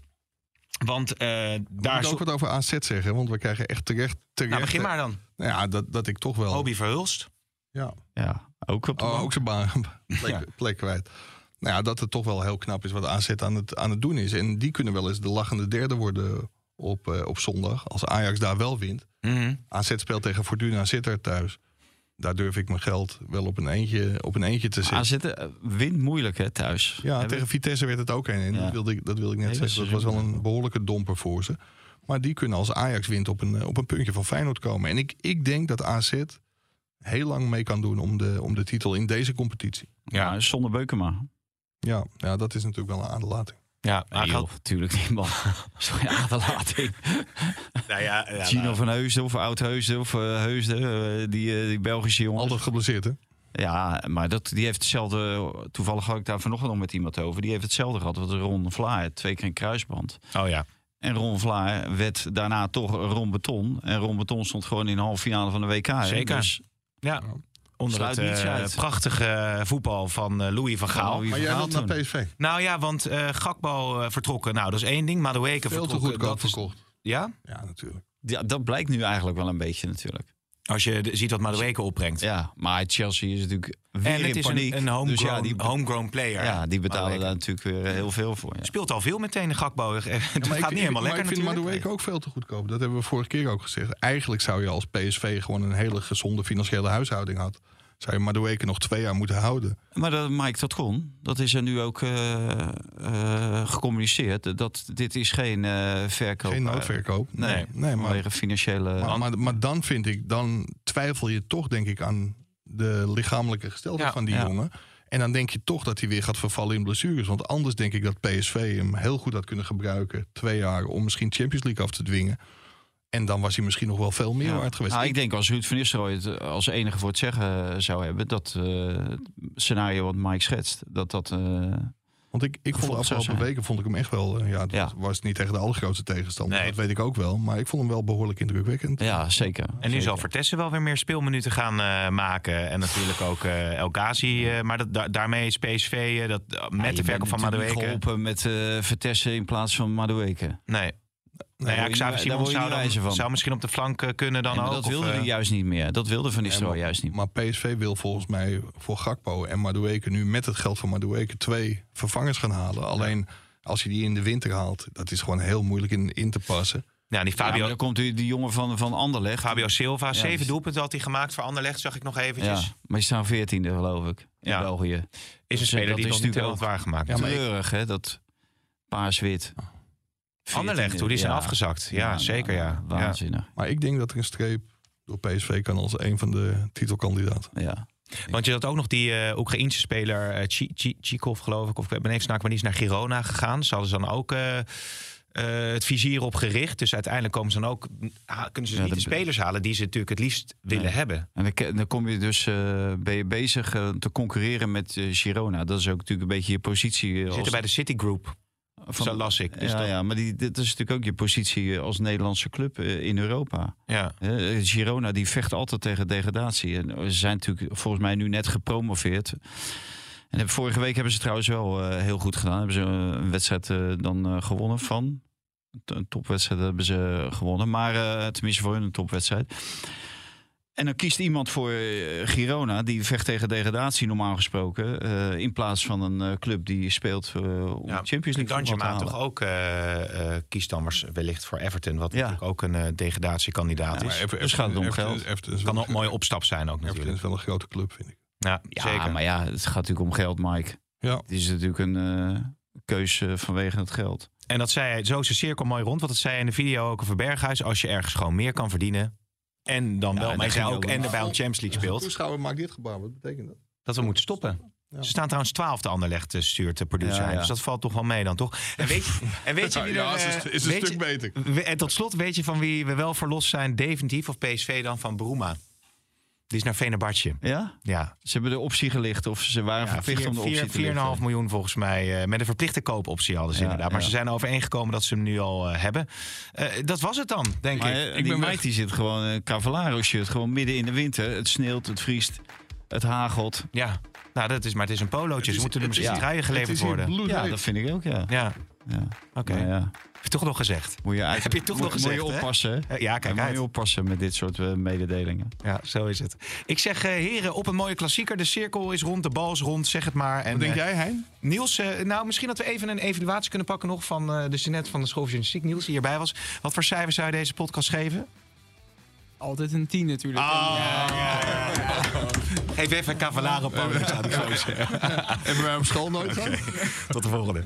Speaker 3: Want eh,
Speaker 4: Ik
Speaker 3: daar...
Speaker 4: moet ook
Speaker 3: zo-
Speaker 4: wat over AZ zeggen, want we krijgen echt terecht... terecht
Speaker 3: Nou, begin maar dan.
Speaker 4: Nou Ja, dat, dat ik toch wel...
Speaker 3: Obi Verhulst.
Speaker 4: Ja.
Speaker 6: Ja, ook op de
Speaker 4: Oh,
Speaker 6: bank.
Speaker 4: ook zijn baan, plek,
Speaker 3: Ja.
Speaker 4: plek kwijt. Nou ja, dat het toch wel heel knap is wat AZ aan het, aan het doen is. En die kunnen wel eens de lachende derde worden op, eh, op zondag. Als Ajax daar wel wint.
Speaker 3: Mhm.
Speaker 4: AZ speelt tegen Fortuna Sittard thuis. Daar durf ik mijn geld wel op een eentje, op een eentje te zetten.
Speaker 6: AZ eh, wint moeilijk hè, thuis.
Speaker 4: Ja,
Speaker 6: Hebben-
Speaker 4: tegen Vitesse werd het ook een. En
Speaker 6: Ja.
Speaker 4: dat, wilde ik, dat wilde ik net
Speaker 6: Hele
Speaker 4: zeggen. Dat was
Speaker 6: seizoen.
Speaker 4: wel een behoorlijke domper voor ze. Maar die kunnen als Ajax wint op een, eh, op een puntje van Feyenoord komen. En ik, ik denk dat AZ heel lang mee kan doen om de, om de titel in deze competitie.
Speaker 3: Ja,
Speaker 6: Ja, zonder Beukema.
Speaker 4: Ja, ja, dat is natuurlijk wel een aandelating.
Speaker 3: ja.
Speaker 6: Nee,
Speaker 3: hij
Speaker 6: joh,
Speaker 3: gaat-
Speaker 6: natuurlijk niet, man. Sorry, aderlating.
Speaker 3: Nou ja, ja,
Speaker 6: Gino
Speaker 3: nou,
Speaker 6: van Heusden of Oud Heusden of eh, Heusden, eh, die, eh, die Belgische jongen.
Speaker 3: Dus-
Speaker 4: Altijd geblesseerd, hè?
Speaker 6: Ja, maar dat, die heeft hetzelfde. Toevallig had ik daar vanochtend nog met iemand over. Die heeft hetzelfde gehad wat Ron Vlaar. Twee keer een kruisband.
Speaker 3: Oh ja.
Speaker 6: En Ron Vlaar werd daarna toch Ron Beton. En Ron Beton stond gewoon in de halve finale van de WK. hè.
Speaker 3: Zeker.
Speaker 6: Dus,
Speaker 3: Ja. Onder
Speaker 6: Sluit
Speaker 3: het
Speaker 6: niets
Speaker 3: eh,
Speaker 6: uit.
Speaker 3: prachtige voetbal van eh, Louis van Gaal.
Speaker 6: Van Louis
Speaker 4: Maar jij wilt
Speaker 6: Verhaal
Speaker 4: naar
Speaker 6: toen.
Speaker 4: PSV.
Speaker 3: Nou ja, want eh Gakpo eh, vertrokken. Nou, dat is één ding. Madueke
Speaker 4: Veel te
Speaker 3: vertrokken.
Speaker 4: goedkoop
Speaker 3: eh, dat is-
Speaker 4: verkocht.
Speaker 3: Ja?
Speaker 4: Ja, natuurlijk.
Speaker 6: Ja, dat blijkt nu eigenlijk wel een beetje natuurlijk.
Speaker 3: Als je de- ziet wat Madueke opbrengt.
Speaker 6: Ja, maar Chelsea is natuurlijk weer
Speaker 3: en het
Speaker 6: in
Speaker 3: is
Speaker 6: paniek.
Speaker 3: een, een homegrown,
Speaker 6: dus ja, die,
Speaker 3: homegrown player.
Speaker 6: ja, die betalen
Speaker 3: Madueke.
Speaker 6: daar natuurlijk weer heel veel voor. Ja.
Speaker 3: Speelt al veel meteen de Gakpo. Het gaat niet
Speaker 4: ik, ik-
Speaker 3: helemaal
Speaker 4: maar
Speaker 3: lekker
Speaker 4: ik vind
Speaker 3: natuurlijk.
Speaker 4: Madueke ook veel te goedkoop. Dat hebben we vorige keer ook gezegd. Eigenlijk zou je als PSV gewoon een hele gezonde financiële huishouding had. Zou je Madueke nog twee jaar moeten houden.
Speaker 6: Maar dat, Mike, dat kon. Dat is er nu ook eh, eh, gecommuniceerd. Dat, dit is geen eh, verkoop.
Speaker 4: Geen noodverkoop.
Speaker 6: Nee,
Speaker 4: nee maar,
Speaker 6: vanwege financiële...
Speaker 4: maar, maar, maar dan vind ik, dan twijfel je toch denk ik aan de lichamelijke gesteldheid
Speaker 3: Ja,
Speaker 4: van die
Speaker 6: ja.
Speaker 4: jongen. En dan denk je toch dat hij weer gaat vervallen in blessures. Want anders denk ik dat PSV hem heel goed had kunnen gebruiken. Twee jaar om misschien Champions League af te dwingen. En dan was hij misschien nog wel veel meer
Speaker 6: Ja.
Speaker 4: waard geweest.
Speaker 6: Nou,
Speaker 4: Ik-
Speaker 6: ik denk als Ruud van Nistelrooy het eh, als enige voor het zeggen zou hebben... dat eh, het scenario wat Mike schetst, dat dat... eh,
Speaker 4: Want ik, ik vond de
Speaker 6: gevolg zou
Speaker 4: afgelopen
Speaker 6: zijn.
Speaker 4: weken vond ik hem echt wel. eh, Ja, dat
Speaker 6: Ja.
Speaker 4: was niet tegen de allergrootste tegenstander.
Speaker 3: Nee.
Speaker 4: Dat weet ik ook wel. Maar ik vond hem wel behoorlijk indrukwekkend.
Speaker 6: ja, zeker.
Speaker 3: En nu
Speaker 6: Zeker.
Speaker 3: zal Vertessen wel weer meer speelminuten gaan eh, maken. En natuurlijk ook eh El Ghazi. eh, maar dat, da- daarmee is PSV eh, dat, eh,
Speaker 6: Ja,
Speaker 3: met
Speaker 6: Ah, je
Speaker 3: de verkoop
Speaker 6: bent
Speaker 3: van
Speaker 6: natuurlijk niet
Speaker 3: Madueke.
Speaker 6: geholpen met eh Vertessen in plaats van Madueke.
Speaker 3: Nee. Nou
Speaker 6: word
Speaker 3: ja,
Speaker 6: je
Speaker 3: Xavi
Speaker 6: niet- daar
Speaker 3: Simons
Speaker 6: word je
Speaker 3: zou,
Speaker 6: niet
Speaker 3: dan,
Speaker 6: wijzer van.
Speaker 3: zou misschien op de flank eh, kunnen dan
Speaker 6: En
Speaker 3: ook.
Speaker 6: dat
Speaker 3: of,
Speaker 6: wilde
Speaker 3: eh,
Speaker 6: hij juist niet meer. Dat wilde van Nistelrooy
Speaker 4: maar-
Speaker 6: juist niet meer.
Speaker 4: Maar PSV wil volgens mij voor Gakpo en Madueke nu met het geld van Madueke twee vervangers gaan halen. Alleen als je die in de winter haalt, dat is gewoon heel moeilijk in, in te passen.
Speaker 3: ja, die
Speaker 6: Ja,
Speaker 3: Fabio,
Speaker 6: maar dan komt die, die jongen van, van Anderlecht.
Speaker 3: Fabio Silva. Zeven
Speaker 6: dus-
Speaker 3: doelpunten had hij gemaakt voor Anderlecht, zag ik nog eventjes.
Speaker 6: Ja, maar ze staan veertiende, geloof ik. In
Speaker 3: Ja.
Speaker 6: België.
Speaker 3: Is een
Speaker 6: Dus, eh,
Speaker 3: speler
Speaker 6: dat
Speaker 3: die
Speaker 6: is
Speaker 3: nog niet helemaal
Speaker 6: natuurlijk ook
Speaker 3: waar gemaakt.
Speaker 4: Ja, maar ik-
Speaker 6: treurig, hè? Dat paars-wit.
Speaker 3: Anderlecht, hoe die zijn afgezakt. Ja, zeker ja. ja.
Speaker 6: nou, Waanzinnig.
Speaker 4: Maar ik denk dat er een streep door PSV kan als een van de titelkandidaten.
Speaker 6: Ja.
Speaker 3: Want je had ook nog die eh Oekraïense speler eh, Chi- Chi- Chikov, geloof ik. Of ik ben even snaak, maar die is naar Girona gegaan. Ze hadden ze dan ook eh, eh, het vizier op gericht. Dus uiteindelijk komen ze dan ook, ha- kunnen ze
Speaker 6: Ja,
Speaker 3: niet de
Speaker 6: dat-
Speaker 3: spelers halen die ze natuurlijk het liefst willen hebben.
Speaker 6: En dan, ke- dan kom je dus, eh, ben je bezig eh, te concurreren met eh, Girona. Dat is ook natuurlijk een beetje je positie. eh,
Speaker 3: Ze
Speaker 6: als-
Speaker 3: zitten bij de Citigroup,
Speaker 6: van-
Speaker 3: zo las ik. Dus
Speaker 6: ja,
Speaker 3: dat-
Speaker 6: ja, maar die, dit is natuurlijk ook je positie eh, als Nederlandse club eh, in Europa.
Speaker 3: ja.
Speaker 6: Eh, Girona die vecht altijd tegen degradatie. En eh, ze zijn natuurlijk volgens mij nu net gepromoveerd. En hebben- vorige week hebben ze trouwens wel eh, heel goed gedaan. Hebben ze eh, een wedstrijd eh, dan eh, gewonnen van. Een t- Een topwedstrijd hebben ze gewonnen. Maar eh, tenminste voor hun een topwedstrijd. En dan kiest iemand voor eh, Girona, die vecht tegen degradatie normaal gesproken. eh, in plaats van een eh, club die speelt eh, om de Champions League voetbal te
Speaker 3: Danjema
Speaker 6: halen.
Speaker 3: toch ook eh eh kiest dan waars- wellicht voor Everton. Wat
Speaker 6: Ja.
Speaker 3: natuurlijk ook een eh, degradatiekandidaat is.
Speaker 6: Everton- dus gaat het om geld.
Speaker 3: Kan ook een mooie opstap zijn ook
Speaker 4: Everton is
Speaker 3: natuurlijk.
Speaker 4: wel een grote club, vind ik.
Speaker 3: Ja,
Speaker 6: Ja,
Speaker 3: zeker.
Speaker 6: maar ja, het gaat natuurlijk om geld, Mike.
Speaker 4: Ja.
Speaker 6: Het is natuurlijk een eh, keuze vanwege het geld.
Speaker 3: En dat zei hij, zo is de cirkel mooi rond. Want dat zei hij in de video ook over Berghuis. Als je ergens gewoon meer kan verdienen. En dan
Speaker 6: Ja,
Speaker 3: wel, maar hij
Speaker 6: en dat
Speaker 3: zei
Speaker 6: ging
Speaker 3: ook,
Speaker 6: ook
Speaker 3: en
Speaker 6: wel.
Speaker 3: erbij om Champions League
Speaker 4: De
Speaker 3: speelt.
Speaker 4: toeschouwer maakt dit gebaar. Wat betekent dat?
Speaker 3: Dat we moeten stoppen.
Speaker 4: Ja.
Speaker 3: Ze staan trouwens twaalfde Anderlecht, eh, stuurt de producer.
Speaker 6: Ja,
Speaker 3: aan.
Speaker 6: ja.
Speaker 3: Dus dat valt toch wel mee dan, toch? En weet je, en weet je
Speaker 4: Ja,
Speaker 3: wie
Speaker 4: ja,
Speaker 3: er...
Speaker 4: is
Speaker 3: eh,
Speaker 4: een st- is een
Speaker 3: weet je-
Speaker 4: stuk beter.
Speaker 3: we- En tot slot, weet je van wie we wel verlost zijn, definitief, of PSV dan, van Bruma? Die is naar Venebartje.
Speaker 6: Ja?
Speaker 3: Ja,
Speaker 6: Ze hebben de optie gelicht of ze waren
Speaker 3: Ja,
Speaker 6: verplicht
Speaker 3: vier-
Speaker 6: om de optie
Speaker 3: vier-
Speaker 6: te lichten.
Speaker 3: 4,5 miljoen volgens mij. eh, met een verplichte koopoptie hadden ze
Speaker 6: Ja,
Speaker 3: inderdaad. Maar
Speaker 6: ja.
Speaker 3: ze zijn overeengekomen dat ze hem nu al eh, hebben. Eh, dat was het dan, denk
Speaker 6: Maar
Speaker 3: ik.
Speaker 6: ik die meid die zit gewoon in een Cavallaro-shirt. Gewoon midden in de winter. Het sneeuwt, het vriest, het hagelt.
Speaker 3: Ja, nou, dat is, maar het is een polootje. Ze
Speaker 4: is-
Speaker 3: moeten er
Speaker 4: het
Speaker 3: misschien
Speaker 6: is-
Speaker 3: truien
Speaker 4: Het
Speaker 3: geleverd
Speaker 4: is hier
Speaker 3: worden.
Speaker 4: bloedheet.
Speaker 6: Ja, dat vind ik ook, ja.
Speaker 3: Ja,
Speaker 6: ja.
Speaker 3: oké.
Speaker 6: Maar ja,
Speaker 3: Heb je toch nog gezegd.
Speaker 6: moet je uit...
Speaker 3: Heb je toch
Speaker 6: moet-
Speaker 3: nog gezegd,
Speaker 6: Moet je
Speaker 3: hè?
Speaker 6: oppassen. hè?
Speaker 3: Eh, ja, kijk
Speaker 6: Ja, moet
Speaker 3: uit.
Speaker 6: je oppassen met dit soort eh, mededelingen.
Speaker 3: Ja, zo is het. Ik zeg, eh, heren, op een mooie klassieker. De cirkel is rond, de bal is rond, zeg het maar. En,
Speaker 4: Wat denk
Speaker 3: eh,
Speaker 4: jij, Hein?
Speaker 3: Niels, eh, nou misschien dat we even een evaluatie kunnen pakken nog... van eh, de student van de School van Journalistiek, Niels, die hierbij was. Wat voor cijfers zou je deze podcast geven?
Speaker 8: Altijd een 10 natuurlijk.
Speaker 4: Oh,
Speaker 3: Geef even een Cavallaro-polootje aan de gozer.
Speaker 4: Hebben wij op school nooit gehad?
Speaker 3: Tot de volgende.